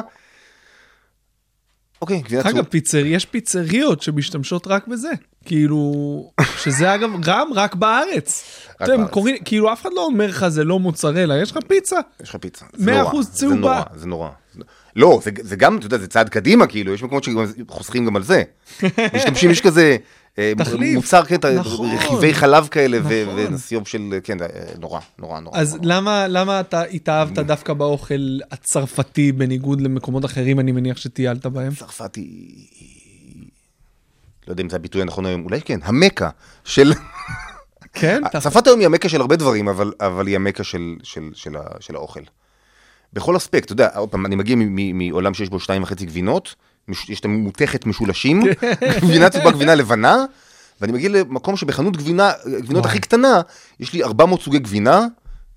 אוקיי, גבינה אגב, צהובה. פיצר... יש פיצריות שמשתמשות רק בזה. כאילו, שזה אגב גם רק בארץ. רק אתם בארץ. קוראים, כאילו אף אחד לא אומר לך זה לא מוצרלה, יש לך פיצה. יש לך פיצה. מאה זה נורא, אחוז זה צהובה. נורא, זה נורא. לא, זה, זה גם, אתה יודע, זה צעד קדימה, כאילו, יש מקומות שחוסכים גם על זה. משתמשים, יש כזה... אה, תחליף. מוצר קטע, נכון. רכיבי חלב כאלה, ו- נכון. ונסיוב של, כן, זה, אה, נורא, נורא, נורא. אז נורא. למה, למה אתה התאהבת דווקא באוכל הצרפתי בניגוד למקומות אחרים, אני מניח שטיילת בהם? צרפת היא... היא- לא יודע אם זה הביטוי הנכון היום, אולי כן, המכה של... כן? אתה- צרפת היום היא המכה של הרבה דברים, אבל, אבל היא המכה של, של, של, ה- של האוכל. בכל אספקט, אתה יודע, עוד פעם, אני מגיע מ- מ- מעולם שיש בו שתיים וחצי גבינות, מש- יש את המותכת משולשים, כן. גבינה צהובה, גבינה לבנה, ואני מגיע למקום שבחנות גבינה, גבינות וואי. הכי קטנה, יש לי 400 סוגי גבינה,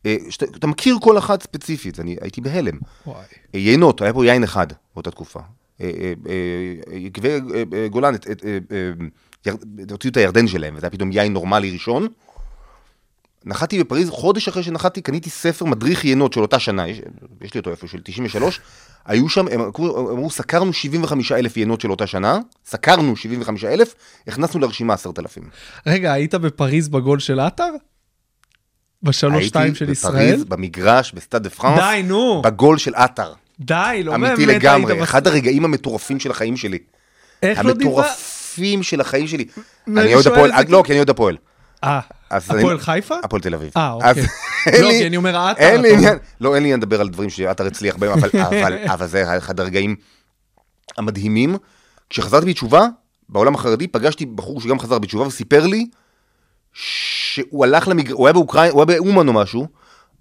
אה, שאתה אתה מכיר כל אחת ספציפית, אני הייתי בהלם. וואי. אה, יינות, היה פה יין אחד באותה תקופה. אה, אה, אה, יקבי אה, אה, גולן, את- את- אה, אה, יר- הוציאו את הירדן שלהם, וזה היה פתאום יין נורמלי ראשון. נחתי בפריז, חודש אחרי שנחתי, קניתי ספר מדריך יינות של אותה שנה, יש, יש לי אותו איפה, של 93. היו שם, הם אמרו, אמרו, סקרנו 75 אלף יינות של אותה שנה, סקרנו 75 אלף, הכנסנו לרשימה 10,000. רגע, היית בפריז בגול של עטר? בשלוש שתיים של ישראל? במגרש, בסטאד דה פרנס, די, נו. בגול של עטר. די, לא באמת. אמיתי היית לגמרי, בס- אחד הרגעים המטורפים של החיים שלי. איך לא דיברת? המטורפים של החיים שלי. ואני אני אוהד שואל הפועל, את זה לא, כי- כי אני אוהד הפועל. אה, אז אני- הפועל חיפה? הפועל תל אביב. אה, אוקיי. אז לא, אין לי- כי אני אומר עטר, אין לי אתה אומר. עניין, לא, אין לי עניין לדבר על דברים שעטר הצליח בהם, אבל- אבל- אבל זה היה אחד הרגעים המדהימים. כשחזרתי בתשובה, בעולם החרדי, פגשתי בחור שגם חזר בתשובה וסיפר לי שהוא הלך למגרש, הוא היה באוקראינה, הוא היה באומן או משהו,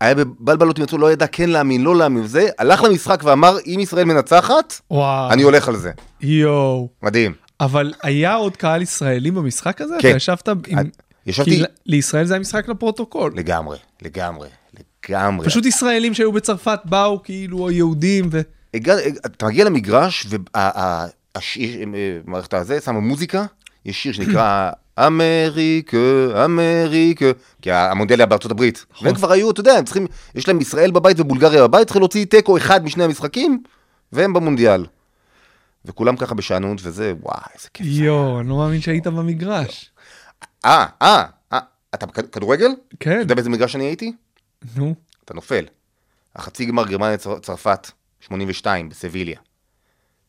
היה בבלבלות עם עצמו, לא ידע כן להאמין, לא להאמין וזה, הלך למשחק ואמר, אם ישראל מנצחת, וואו. אני הולך על זה. יואו. מדהים. אבל היה עוד קהל ישראלי במשחק הזה? כן. אתה ישבת עם... אני- ישבתי- כי ל- לישראל זה היה משחק לפרוטוקול. לגמרי, לגמרי, לגמרי. פשוט ישראלים שהיו בצרפת באו כאילו היהודים ו... הגע, אתה מגיע למגרש, ומערכת אה, הזה שמה מוזיקה, יש שיר שנקרא אמריקה, אמריקה, כי המונדיאל היה בארצות הברית. נכון. והם כבר היו, אתה יודע, הם צריכים, יש להם ישראל בבית ובולגריה בבית, צריכים להוציא תיקו אחד משני המשחקים, והם במונדיאל. וכולם ככה בשענות, וזה, וואי, איזה כיף. יואו, אני לא מאמין שהיית במגרש. אה, אה, אה, אתה בכ- כדורגל? אתה כן, יודע באיזה מגרש אני הייתי? נו. אתה נופל. החצי גמר גרמניה צר- צרפת, 82, בסביליה.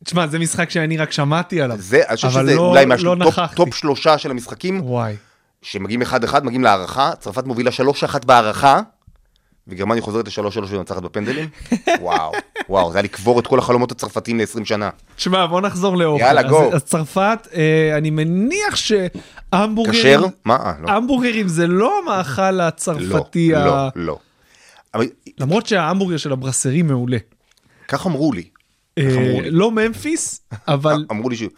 תשמע, זה משחק שאני רק שמעתי עליו. זה, אני חושב אבל שזה לא- אולי משהו, לא טופ, נכחתי. טופ שלושה של המשחקים, וואי. שמגיעים אחד אחד, מגיעים להערכה, צרפת מובילה שלוש אחת בהערכה, וגרמניה חוזרת לשלוש שלוש ומנצחת בפנדלים, וואו, וואו, זה היה לקבור את כל החלומות הצרפתיים ל-20 שנה. תשמע, בוא נחזור לאוכל. יאללה, אז- go. אז צרפת, אה, אני מניח שהמבורגרים... כשר? מה? אה, לא. המבורגרים זה לא המאכל לא, הצרפתי ה... לא, לא. אבל למרות שההמבורגר של הברסרי מעולה. כך אמרו לי, אה, אמרו לי. אה, לא ממפיס, אבל אמרו לי שהוא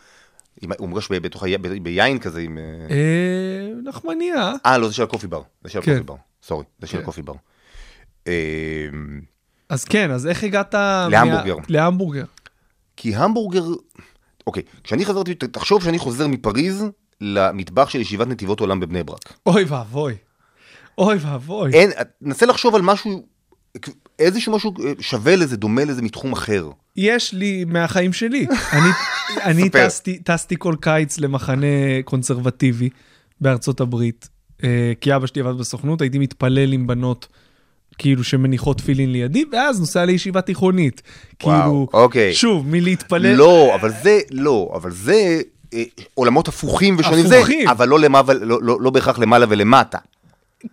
אם- הוא מוגש ב- בתוך ה- ב- ביין כזה עם... אה, אה, נחמניה. אה, לא, זה של הקופי בר, זה של כן. הקופי בר, סורי, זה של כן. הקופי בר. אה, אז כן, אז איך הגעת... להמבורגר. מה- להמבורגר. כי המבורגר... אוקיי, כשאני חזרתי, ת- תחשוב שאני חוזר מפריז למטבח של ישיבת נתיבות עולם בבני ברק. אוי ואבוי. אוי ואבוי. אין, נסה לחשוב על משהו, איזשהו משהו אה, שווה לזה, דומה לזה מתחום אחר. יש לי מהחיים שלי. אני, אני ספר. טסתי, טסתי כל קיץ למחנה קונסרבטיבי בארצות הברית, אה, כי אבא שלי עבד בסוכנות, הייתי מתפלל עם בנות כאילו שמניחות תפילין לידי, ואז נוסע לישיבה תיכונית. וואו, כאילו, אוקיי. שוב, מלהתפלל. לא, אבל זה, לא, אבל זה אה, עולמות הפוכים ושונים זה, הפוכים. אבל לא למה ול- לא- לא- לא בהכרח למעלה ולמטה.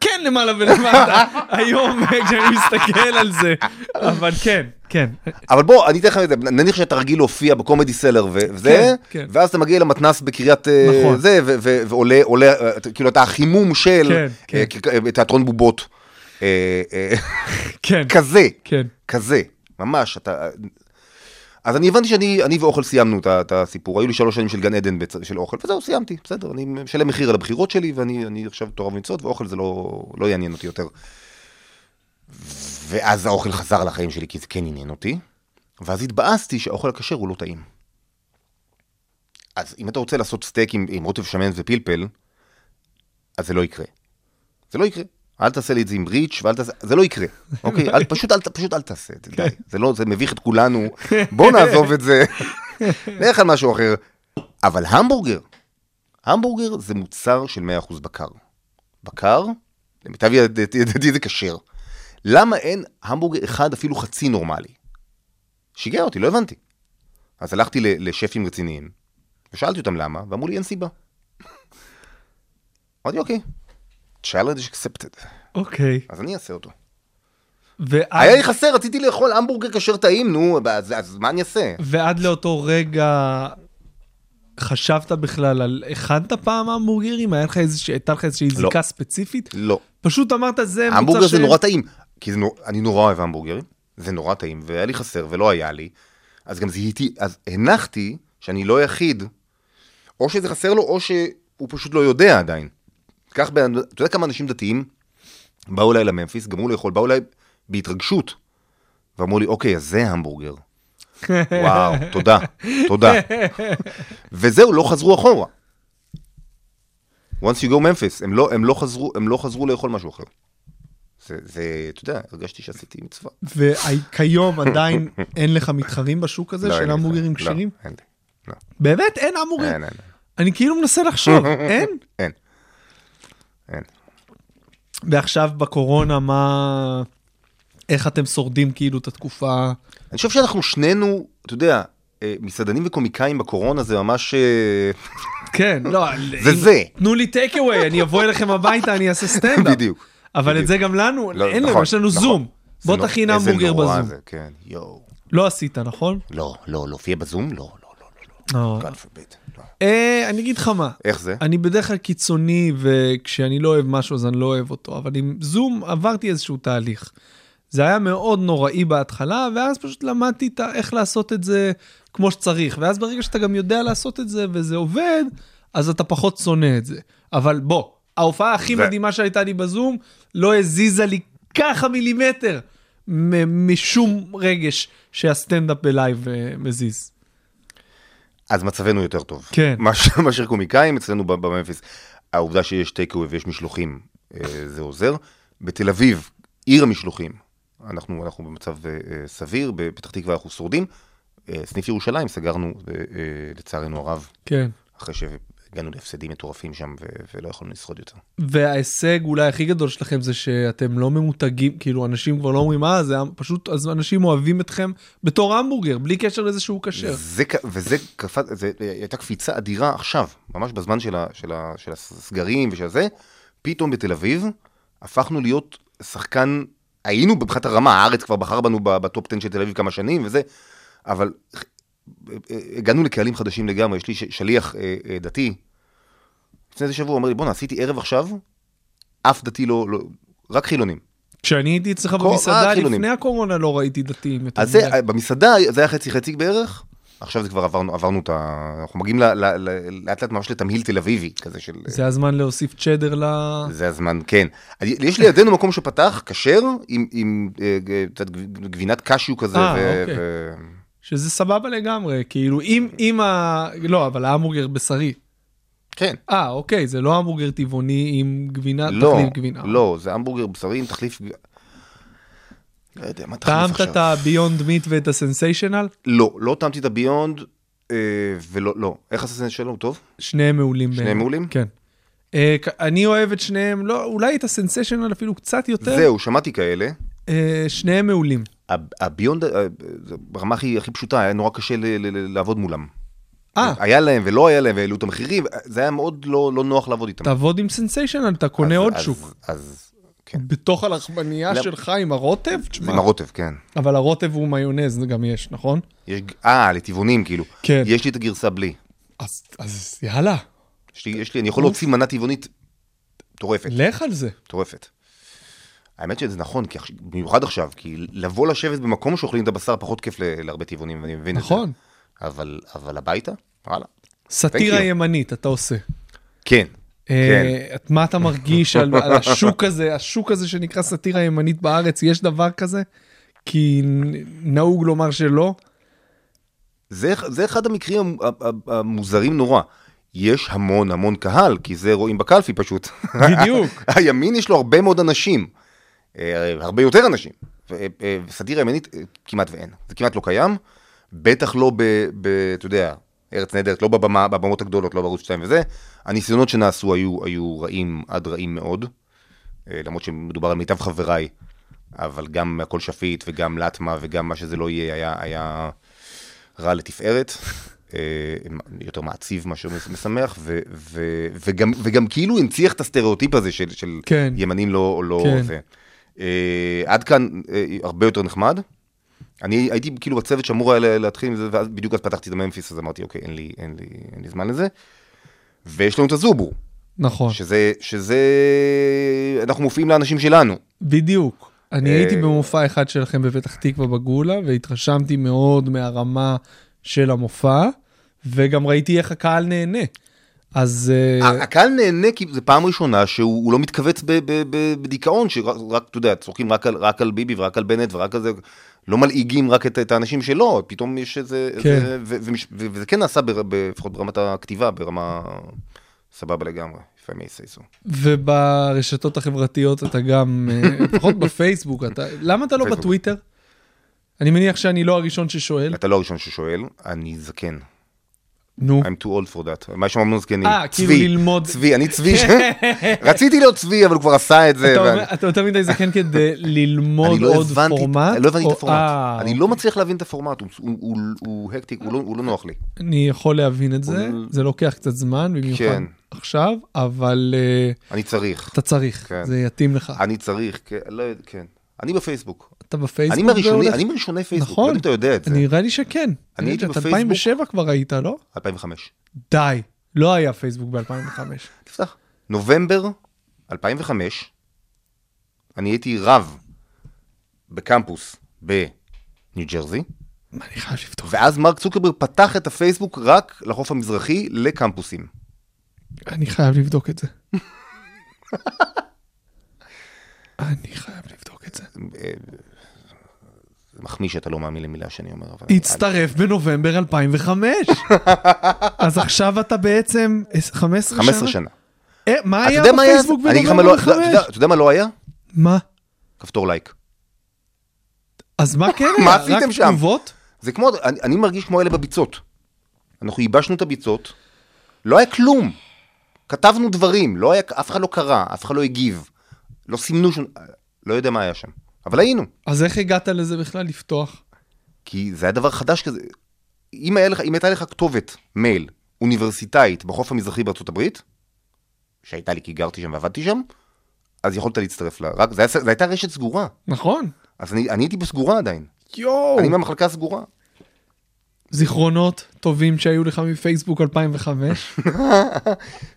כן למעלה ולמטה, היום אה, כשאני מסתכל על זה, אבל כן, כן. אבל בוא, אני אתן לך את זה, נניח שאתה רגיל להופיע בקומדי סלר ו- וזה, כן. ואז אתה מגיע למתנס בקריית אה, נכון. זה, ו- ו- ועולה, עולה, אה, כאילו אתה החימום של כן, כן. אה, ק- אה, תיאטרון בובות. אה, אה, כן, כזה, כן. כזה, ממש, אתה... אז אני הבנתי שאני אני ואוכל סיימנו את ה- את הסיפור, היו לי שלוש שנים של גן עדן בצ- של אוכל, וזהו, סיימתי, בסדר, אני משלם מחיר על הבחירות שלי, ואני אני עכשיו תורם מצוות, ואוכל זה לא, לא יעניין אותי יותר. ואז האוכל חזר לחיים שלי, כי זה כן עניין אותי, ואז התבאסתי שהאוכל הכשר הוא לא טעים. אז אם אתה רוצה לעשות סטייק עם, עם רוטב שמן ופלפל, אז זה לא יקרה. זה לא יקרה. אל תעשה לי את זה עם ריץ' ואל תעשה, זה לא יקרה, אוקיי? אל, פשוט, אל, ת- פשוט אל תעשה את זה, די. זה לא, זה מביך את כולנו, בוא נעזוב את זה. נלך על משהו אחר. אבל המבורגר, המבורגר זה מוצר של 100% בקר. בקר, למיטב ידעתי ידעתי זה כשר. למה אין המבורגר אחד אפילו חצי נורמלי? שיגע אותי, לא הבנתי. אז הלכתי ל- לשפים רציניים, ושאלתי אותם למה, ואמרו לי אין סיבה. אמרתי, אוקיי, challenge accepted, אוקיי. אז אני אעשה אותו. ואז- היה לי חסר, רציתי לאכול המבורגר כשר טעים, נו, אז, אז מה אני אעשה? ועד לאותו רגע חשבת בכלל על... הכנת פעם המבורגרים? היה לך איזושהי- הייתה לך איזושהי לא. זיקה ספציפית? לא. פשוט אמרת זה מוצר המבורגר זה ש- נורא טעים, כי זה נור... אני נורא אוהב המבורגרים, זה נורא טעים, והיה לי חסר ולא היה לי, אז גם זיהיתי, אז הנחתי שאני לא היחיד, או שזה חסר לו, או שהוא פשוט לא יודע עדיין. כך, בן- אתה יודע כמה אנשים דתיים באו אליי לממפיס, גמרו לאכול, לא באו אליי בהתרגשות, ואמרו לי, אוקיי, אז זה המבורגר. וואו, תודה, תודה. וזהו, לא חזרו אחורה. once you go Memphis, הם לא, הם לא, חזרו, הם לא חזרו לאכול משהו אחר. זה, זה, אתה יודע, הרגשתי שעשיתי מצווה. וכיום עדיין אין לך מתחרים בשוק הזה לא, אין של לי המבורגרים בכלל. כשרים? לא, אין לי. לא, באמת אין המבורגרים? אין, אין, אני כאילו מנסה לחשוב, אין? אין. אין. ועכשיו בקורונה מה... איך אתם שורדים כאילו את התקופה? אני חושב שאנחנו שנינו, אתה יודע, אה, מסעדנים וקומיקאים בקורונה זה ממש... אה, כן, לא, זה אם- זה. תנו לי טייק אווי, אני אבוא אליכם הביתה, אני אעשה סטנדאפ. בדיוק, אבל את בדיוק. זה גם לנו, לא, אין לנו, נכון, יש לנו נכון. זום. זה בוא נור- תכין איזה המבורגר נורא בזום. זה, כן, יואו. לא עשית, נכון? לא, לא, להופיע בזום? לא, לא, לא, לא. לא. God forbid. לא. אה, אני אגיד לך מה. איך זה? אני בדרך כלל קיצוני, וכשאני לא אוהב משהו אז אני לא אוהב אותו, אבל עם זום עברתי איזשהו תהליך. זה היה מאוד נוראי בהתחלה, ואז פשוט למדתי את ה- איך לעשות את זה כמו שצריך. ואז ברגע שאתה גם יודע לעשות את זה וזה עובד, אז אתה פחות שונא את זה. אבל בוא, ההופעה הכי זה- מדהימה שהייתה לי בזום, לא הזיזה לי ככה מילימטר מ- משום רגש שהסטנדאפ בלייב אה, מזיז. אז מצבנו יותר טוב. כן. מאשר- מאשר קומיקאים אצלנו ב- בממפיס. העובדה שיש טייקווי ויש משלוחים, אה, זה עוזר. בתל אביב, עיר המשלוחים, אנחנו, אנחנו במצב אה, אה, סביר, בפתח תקווה אנחנו שורדים. אה, סניף ירושלים סגרנו, אה, אה, לצערנו הרב, כן. אחרי שהגענו להפסדים מטורפים שם ו- ולא יכולנו לשרוד יותר. וההישג אולי הכי גדול שלכם זה שאתם לא ממותגים, כאילו אנשים כבר לא אומרים אה, זה המ-" פשוט, אז אנשים אוהבים אתכם בתור המבורגר, בלי קשר לזה שהוא כשר. זה, ק- וזה קפץ, זה אה, הייתה קפיצה אדירה עכשיו, ממש בזמן של, ה, של, ה, של הסגרים ושל זה, פתאום בתל אביב הפכנו להיות שחקן, היינו מבחינת הרמה, הארץ כבר בחר בנו ב- בטופ 10 של תל אביב כמה שנים וזה, אבל אה, אה, הגענו לקהלים חדשים לגמרי, יש לי ש- שליח אה, אה, דתי, לפני איזה שבוע הוא אומר לי, בואנה, עשיתי ערב עכשיו, אף דתי לא, לא רק חילונים. כשאני הייתי אצלך כל- במסעדה אה, חילונים. לפני הקורונה לא ראיתי דתיים. יותר אז זה, מדי. במסעדה זה היה חצי חצי בערך, עכשיו זה כבר עברנו, עברנו את ה... אנחנו מגיעים ל- ל- ל- לאט לאט ממש לתמהיל תל אביבי כזה של... זה הזמן להוסיף צ'דר ל... זה הזמן, כן. אז יש לידינו מקום שפתח, כשר, עם, עם אה, ג- קצת גב- גבינת קשיו כזה. אה, ו- אוקיי. ו- שזה סבבה לגמרי, כאילו אם, אם ה... לא, אבל ההמבורגר בשרי. כן. אה, אוקיי, זה לא המבורגר טבעוני עם גבינה, לא, תחליף גבינה. לא, זה המבורגר בשרי עם תחליף... גב- לא יודע, מה תחליף טעמת עכשיו? את הביונד מיט ואת הסנסיישנל? לא, לא טעמתי את הביונד, אה, ולא, לא. איך הססנט שלו? הוא טוב? שניהם מעולים. שניהם בעיניי. מעולים? כן. אה, כ- אני אוהב את שניהם, לא, אולי את הסנסיישנל אפילו קצת יותר. זהו, שמעתי כאלה. אה, שניהם מעולים. הב- הביונד, אה, זה ברמה הכי, הכי פשוטה, היה נורא קשה ל, ל, ל, לעבוד מולם. אה, היה להם ולא היה להם, והעלו את המחירים, זה היה מאוד לא, לא נוח לעבוד איתם. תעבוד עם סנסיישנל, אתה קונה אז- עוד אז- שוק. אז כן. לא. בתוך הלחמנייה למ- שלך עם הרוטב? זה תשמע. עם הרוטב, כן. אבל הרוטב הוא מיונז גם יש, נכון? יש, אה, לטבעונים כאילו. כן. יש לי את הגרסה בלי. אז- אז יאללה, יש לי, יש לי, אני יכול להוציא מנה טבעונית מטורפת, לך על זה. מטורפת. האמת שזה נכון, כי עכשיו- במיוחד עכשיו, כי לבוא לשבת במקום שאוכלים את הבשר פחות כיף ל- להרבה טבעונים, ואני מבין את זה. נכון. אבל, אבל הביתה, וואלה. סאטירה you. ימנית, אתה עושה. כן, כן. אה, את- מה אתה מרגיש על על השוק הזה, השוק הזה שנקרא סאטירה ימנית בארץ, יש דבר כזה? כי נ- נהוג לומר שלא. זה, זה אחד המקרים המ- ה- ה- המוזרים נורא. יש המון המון קהל, כי זה רואים בקלפי פשוט. בדיוק. הימין יש לו הרבה מאוד אנשים, אה, הרבה יותר אנשים. ו- אה, אה, וסאטירה ימנית אה, כמעט ואין, זה כמעט לא קיים. בטח לא ב... ב אתה יודע, ארץ נהדרת, לא בבמה, בבמות הגדולות, לא בערוץ 2 וזה. הניסיונות שנעשו היו, היו רעים עד רעים מאוד, אה, למרות שמדובר על מיטב חבריי, אבל גם הכל שפיט וגם לטמה וגם מה שזה לא יהיה היה, היה רע לתפארת. אה, יותר מעציב מאשר מש- משמח, ו, ו, וגם, וגם כאילו הנציח את הסטריאוטיפ הזה של, של כן. ימנים לא, לא כן. כן. זה. אה, עד כאן אה, הרבה יותר נחמד. אני הייתי כאילו בצוות שאמור היה לה- להתחיל עם זה, ואז בדיוק אז פתחתי את הממפיס, אז אמרתי, אוקיי, אין לי, אין לי, אין לי זמן לזה. ויש לנו את הזובור, נכון, שזה, שזה, אנחנו מופיעים לאנשים שלנו. בדיוק. אני אה, הייתי במופע אחד שלכם בפתח תקווה בגולה, והתרשמתי מאוד מהרמה של המופע, וגם ראיתי איך הקהל נהנה. אז... אה, ה- הקהל נהנה כי זו פעם ראשונה שהוא הוא לא מתכווץ ב- ב- ב- בדיכאון, שרק, רק, אתה יודע, צוחקים רק על, רק על ביבי ורק על בנט ורק על זה, לא מלעיגים רק את, את האנשים שלו, פתאום יש איזה, כן. איזה ו, ו, ו, וזה כן נעשה בר- ב- לפחות ברמת הכתיבה, ברמה סבבה לגמרי, if I may say so. וברשתות החברתיות אתה גם, אה, לפחות בפייסבוק, אתה, למה אתה לא פייסבוק. בטוויטר? אני מניח שאני לא הראשון ששואל. אתה לא הראשון ששואל, אני זקן. נו, I'm too old for that. מה יש שם אמנון זקני? אה, כאילו צבי, ללמוד. צבי, אני צבי. ש- רציתי להיות צבי, אבל הוא כבר עשה את זה. אתה ואני- אומר- אתה יותר מדי זקן כדי לא אני ללמוד לא עוד הבנתי, פורמט? אני לא הבנתי את או- הפורמט. אה, אני לא מצליח להבין את הפורמט, הוא- הוא- הוא- הוא הקטיק, הוא לא- הוא לא נוח לי. אני יכול להבין את זה, הוא- זה לוקח קצת זמן, במיוחד כן. עכשיו, אבל אה, אני צריך, אתה צריך, כן. זה יתאים לך. אני צריך, כן, לא יודע, כן. אני בפייסבוק. אתה בפייסבוק? אני מהראשוני, והולך- אני מראשוני פייסבוק, לא נכון. יודע אם אתה יודע את זה. נראה לי שכן. אני הייתי יודע, אתה בפייסבוק. 2007 כבר היית, לא? 2005. די, לא היה פייסבוק ב-2005. תפתח. נובמבר 2005, אני הייתי רב בקמפוס בניו ג'רזי, אני חייב לפתוח. ואז מרק צוקרברג פתח את הפייסבוק רק לחוף המזרחי לקמפוסים. אני חייב לבדוק את זה. אני חייב לבדוק את זה. זה מחמיא שאתה לא מאמין למילה שאני אומר, אבל... הצטרף בנובמבר 2005. אז עכשיו אתה בעצם 15 שנה? 15 שנה. אה, מה אתה היה יודע מה היה? בפייסבוק אני אגיד לך מה לא- בנובמבר 2005? אתה יודע מה לא היה? מה? כפתור לייק. אז מה כן מה היה? עשיתם שם? רק תגובות? זה כמו, אני, אני מרגיש כמו אלה בביצות. אנחנו ייבשנו את הביצות, לא היה כלום. כתבנו דברים, לא היה, אף אחד לא קרא, אף אחד לא הגיב. לא סימנו שום, לא יודע מה היה שם. אבל היינו, אז איך הגעת לזה בכלל לפתוח? כי זה היה דבר חדש כזה. אם, היה לך, אם הייתה לך כתובת מייל אוניברסיטאית בחוף המזרחי בארצות הברית, שהייתה לי כי גרתי שם ועבדתי שם, אז יכולת להצטרף לה. רק, זה, היה, זה הייתה רשת סגורה, נכון. אז אני, אני הייתי בסגורה עדיין. יואו. אני מהמחלקה הסגורה. זיכרונות טובים שהיו לך מפייסבוק 2005.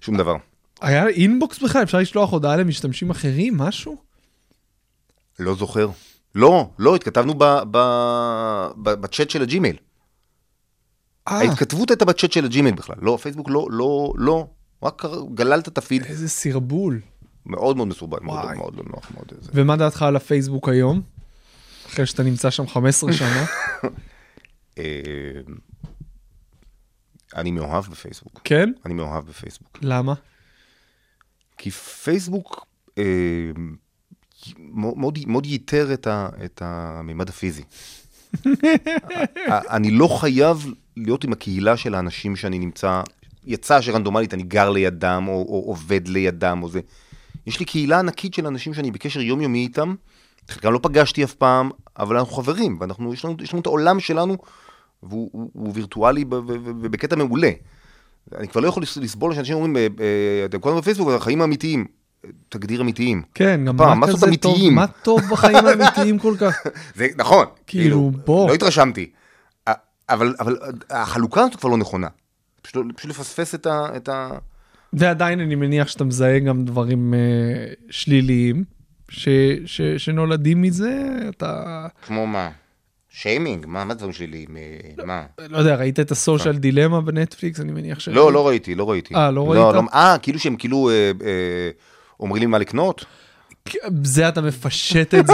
שום דבר. היה אינבוקס בכלל? אפשר לשלוח הודעה למשתמשים אחרים? משהו? לא זוכר. לא, לא, התכתבנו ב, ב, ב, בצ'אט של הג'ימייל. אה, ההתכתבות הייתה בצ'אט של הג'ימייל בכלל. לא, פייסבוק לא, לא, לא. רק קר- גללת את הפיד. איזה סרבול. מאוד מאוד מסורבל, מאוד, וואי. מאוד לא נוח, מאוד זה. ומה דעתך על הפייסבוק היום? אחרי שאתה נמצא שם 15 שנה? אה, אני מאוהב בפייסבוק. כן? אני מאוהב בפייסבוק. למה? כי פייסבוק אה, מאוד, מאוד- מאוד ייתר את, ה, את המימד הפיזי. א- אני לא חייב להיות עם הקהילה של האנשים שאני נמצא, יצא שרנדומלית אני גר לידם, או, או עובד לידם, או זה. יש לי קהילה ענקית של אנשים שאני בקשר יומיומי איתם, חלקם לא פגשתי אף פעם, אבל אנחנו חברים, ואנחנו, יש לנו, יש לנו את העולם שלנו, והוא הוא, הוא וירטואלי ב- ב- ב- בקטע מעולה. אני כבר לא יכול לס- לסבול שאנשים אומרים, אה, אה, אתם כל הזמן בפייסבוק, אבל החיים האמיתיים. "אה, תגדיר אמיתיים. כן, גם פעם, מה מסות כזה טוב, אמיתיים. מה טוב בחיים האמיתיים כל כך? זה נכון. כאילו, בוא. לא התרשמתי. א- אבל, אבל החלוקה הזאת כבר לא נכונה. פשוט, לא- פשוט לפספס את ה... את ה... ועדיין אני מניח שאתה מזהה גם דברים אה, שליליים ש, ש, שנולדים מזה, אתה... כמו מה? שיימינג? מה, מה הדברים שלי? מה? לא יודע, ראית את הסושיאל דילמה בנטפליקס? אני מניח ש... לא, לא ראיתי, לא ראיתי. אה, לא ראית? אה, כאילו שהם כאילו אה, אה, אומרים לי מה לקנות? זה אתה מפשט את זה.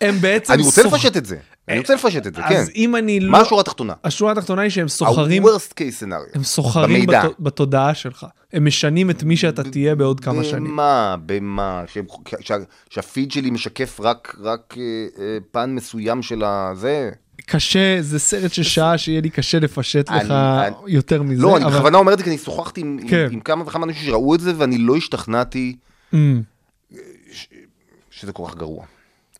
הם בעצם... אני רוצה סוח- לפשט את זה. אני רוצה לפשט את זה, כן. אז אם אני לא... מה השורה התחתונה? השורה התחתונה היא שהם סוחרים, ה-worst case scenario. הם סוחרים במידע. בת- בתודעה שלך. הם משנים את מי שאתה תהיה בעוד כמה שנים. במה, במה, שהם- שה- שהפיד שלי משקף רק, רק אה, אה, פן מסוים של הזה? קשה, זה סרט של שעה שיהיה לי קשה לפשט אני- לך אני- יותר מזה. לא, אני אבל- בכוונה אומר את זה כי אני שוחחתי עם- עם- כן. עם כמה וכמה אנשים שראו את זה, ואני לא השתכנעתי אה, אמ, שזה כל כך גרוע.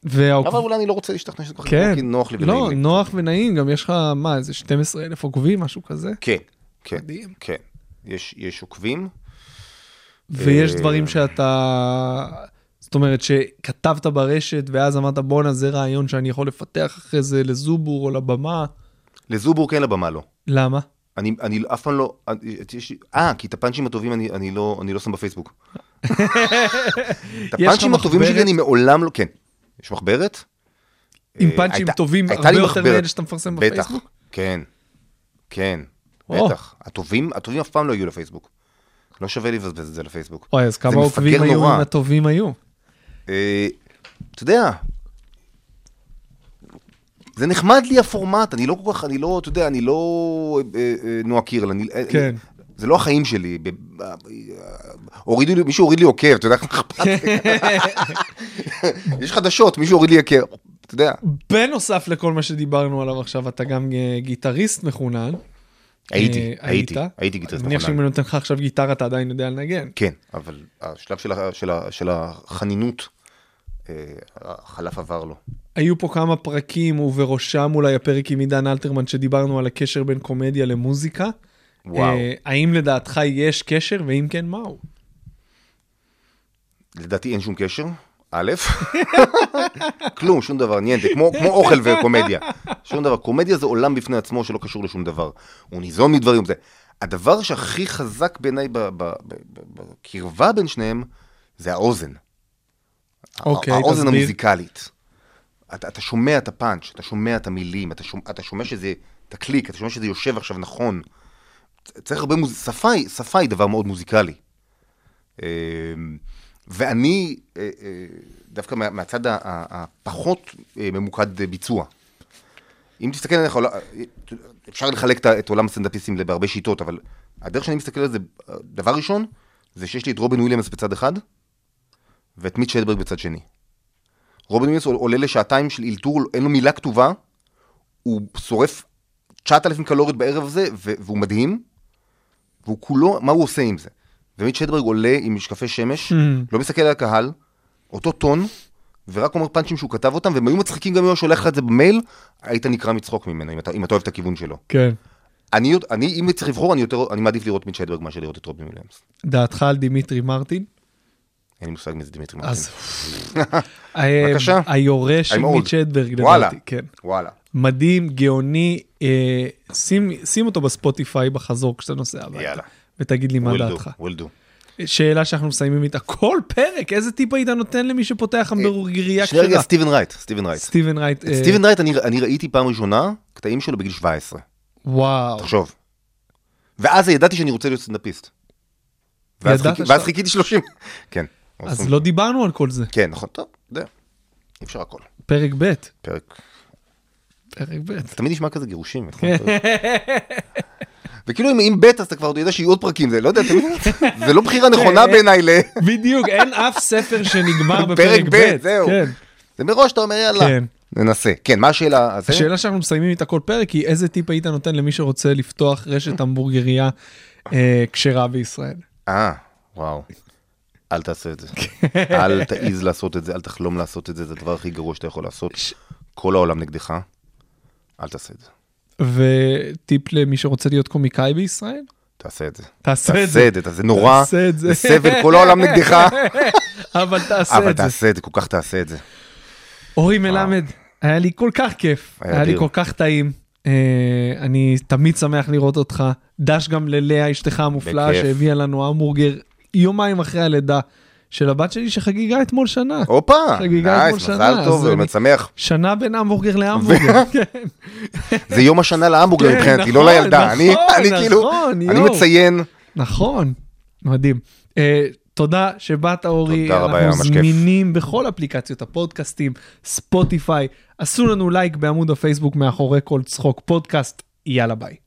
והעוקב- אבל אולי אני לא רוצה להשתכנע שזה כל כך אוקיי. כן. גרוע, כי נוח לי לא, ונעים לי. נוח ונעים, גם יש לך, מה, איזה 12 אלף עוקבים, משהו כזה? כן, כן, מדהים. כן. יש יש עוקבים. ויש אה, דברים שאתה... זאת אומרת שכתבת ברשת ואז אמרת בואנה זה רעיון שאני יכול לפתח אחרי זה לזובור או לבמה. לזובור כן, לבמה לא. למה? אני, אני אף פעם לא, אני- יש לי- אה, כי את הפאנצ'ים הטובים אני, אני, לא, אני לא שם בפייסבוק. את לך הפאנצ'ים הטובים שלי מחברת? אני מעולם לא, כן. יש מחברת? עם אה, פאנצ'ים הייתה- טובים הייתה הרבה לי יותר מחברת. מאלה שאתה מפרסם בטח, בפייסבוק? כן. כן, או. בטח. הטובים, הטובים אף פעם לא הגיעו לפייסבוק. לא שווה לי לבזבז את זה לפייסבוק. אוי, אז זה כמה מפגר עוקבים היו נורא. אם הטובים היו? אה, אתה יודע, זה נחמד לי הפורמט, אני לא כל כך, אני לא, אתה יודע, אני לא אה, אה, נועה קירל, אני, אה, כן. אני- זה לא החיים שלי. ב- אה, הורידו לי, מישהו הוריד לי עוקב, אתה יודע, אכפת לי. יש חדשות, מישהו הוריד לי עוקב, אתה יודע. בנוסף לכל מה שדיברנו עליו עכשיו, אתה גם אה, גיטריסט מחונן. הייתי, אה, הייתי, היית? הייתי גיטריסט אני מניח שאם מחונן. אני נותן לך עכשיו גיטרה אתה עדיין יודע לנגן. כן, אבל השלב של ה- של ה- של החנינות, אה, החלף עבר לו. היו פה כמה פרקים, ובראשם אולי הפרק עם עידן אלתרמן, שדיברנו על הקשר בין קומדיה למוזיקה. וואו. אה, האם לדעתך יש קשר, ואם כן, מהו? לדעתי אין שום קשר, א', כלום, שום דבר, ניינטה, כמו, כמו אוכל וקומדיה. שום דבר, קומדיה זה עולם בפני עצמו שלא קשור לשום דבר. הוא ניזון מדברים וזה. הדבר שהכי חזק בעיניי ב- ב- ב- ב- בקרבה בין שניהם, זה האוזן. אוקיי, האוזן תסביר. המוזיקלית. אתה, אתה שומע את הפאנץ', אתה שומע את המילים, אתה שומע, אתה שומע שזה, את הקליק, אתה שומע שזה יושב עכשיו נכון. צ- צריך הרבה מוז... שפה, היא- שפה היא דבר מאוד מוזיקלי. אה, ואני, אה, אה, דווקא מה- מהצד ה- ה- הפחות אה, ממוקד אה, ביצוע. אם תסתכל עליך, עולה- אה, אפשר לחלק את ה- את עולם הסטנדאפיסטים בהרבה שיטות, אבל הדרך שאני מסתכל על זה, אה, דבר ראשון, זה שיש לי את רובין וויליאמס בצד אחד, ואת מיץ' שלדברג בצד שני. רובין וויליאמס עולה לשעתיים של אלתור, אין לו מילה כתובה, הוא שורף 9,000 קלוריות בערב הזה, ו- והוא מדהים, והוא כולו, מה הוא עושה עם זה? ומיץ' שלדברג עולה עם משקפי Hmm. שמש, לא מסתכל על הקהל, אותו טון, ורק אומר פאנצ'ים שהוא כתב אותם, והם היו מצחיקים גם אם הוא היה שולח לך את זה במייל, היית נקרע מצחוק ממנו, אם אתה, אם אתה אוהב את הכיוון שלו. כן. אני, עוד- אני אם צריך לבחור, אני, יותר, אני מעדיף לראות מיץ' שלדברג מאשר לראות את רובין וויליאמס. דעתך על דימיטרי מרטין? אין לי מושג מי זה דמיטרי מרטין. אז... אה, בבקשה. היורש של I'm old. מיץ' אדברג, וואלה. לדעתי, כן. וואלה. מדהים, גאוני, אה, שים, שים אותו בספוטיפיי בחזור כשאתה נוסע הביתה. יאללה. ותגיד לי מה will דעתך. do, will do. שאלה שאנחנו מסיימים איתה כל פרק, איזה טיפ היית נותן למי שפותח המבורגריה שנייה אה, רגע, כשרה? סטיבן רייט, סטיבן רייט. סטיבן רייט. את אה, סטיבן רייט אני- אני ראיתי פעם ראשונה, קטעים שלו בגיל 17, וואו. תחשוב. ואז ידעתי שאני רוצה להיות סטנדאפיסט. ואז ידעת חיכי- שאתה- ואז חיכיתי 30. כן. אז לא דיברנו על כל זה. כן, נכון, טוב, זה. אי אפשר הכל. פרק ב', פרק. פרק ב'. זה תמיד נשמע כזה גירושים. נכון? כן. וכאילו אם- אם בית אז אתה כבר יודע שיהיו עוד פרקים, זה לא יודע, תמיד, זה לא בחירה נכונה בעיניי ל... בדיוק, אין אף ספר שנגמר כן. בפרק פרק ב'. ב', זהו. כן. זה מראש אתה אומר יאללה, כן. ננסה. כן, מה השאלה? הזה? השאלה שאנחנו מסיימים איתה כל פרק היא איזה טיפ היית נותן למי שרוצה לפתוח רשת המבורגריה אה, כשרה בישראל? אה, וואו. אל תעשה את זה. כן. אל תעיז לעשות את זה, אל תחלום לעשות את זה, זה הדבר הכי גרוע שאתה יכול לעשות. כל העולם נגדך, אל תעשה את זה. וטיפ למי שרוצה להיות קומיקאי בישראל? תעשה את זה. תעשה את זה. תעשה את זה, זה נורא, תעשה את זה. זה סבל, כל העולם נגדך, אבל תעשה אבל את זה. תעשה את זה, כל כך תעשה את זה. אורי מלמד, היה לי כל כך כיף, היה היה לי אדיר. כל כך טעים. אה, אני תמיד שמח לראות אותך. דש גם ללאה, אשתך המופלאה, בכיף. שהביאה לנו המבורגר יומיים אחרי הלידה של הבת שלי, שחגיגה אתמול שנה. הופה, חגיגה אתמול נייס, שנה, מזל טוב, אז אני- באמת שמח. שנה בין המבורגר להמבורגר. כן, זה יום השנה להמבורגר כן, מבחינתי, נכון, לא לילדה. אני נכון, אני כאילו, נכון, אני יואו. מציין, נכון, מדהים. אה, תודה שבאת אורי, תודה רבה, היה אנחנו ממש כיף. זמינים בכל אפליקציות הפודקאסטים, ספוטיפיי, עשו לנו לייק בעמוד הפייסבוק מאחורי כל צחוק פודקאסט, יאללה ביי.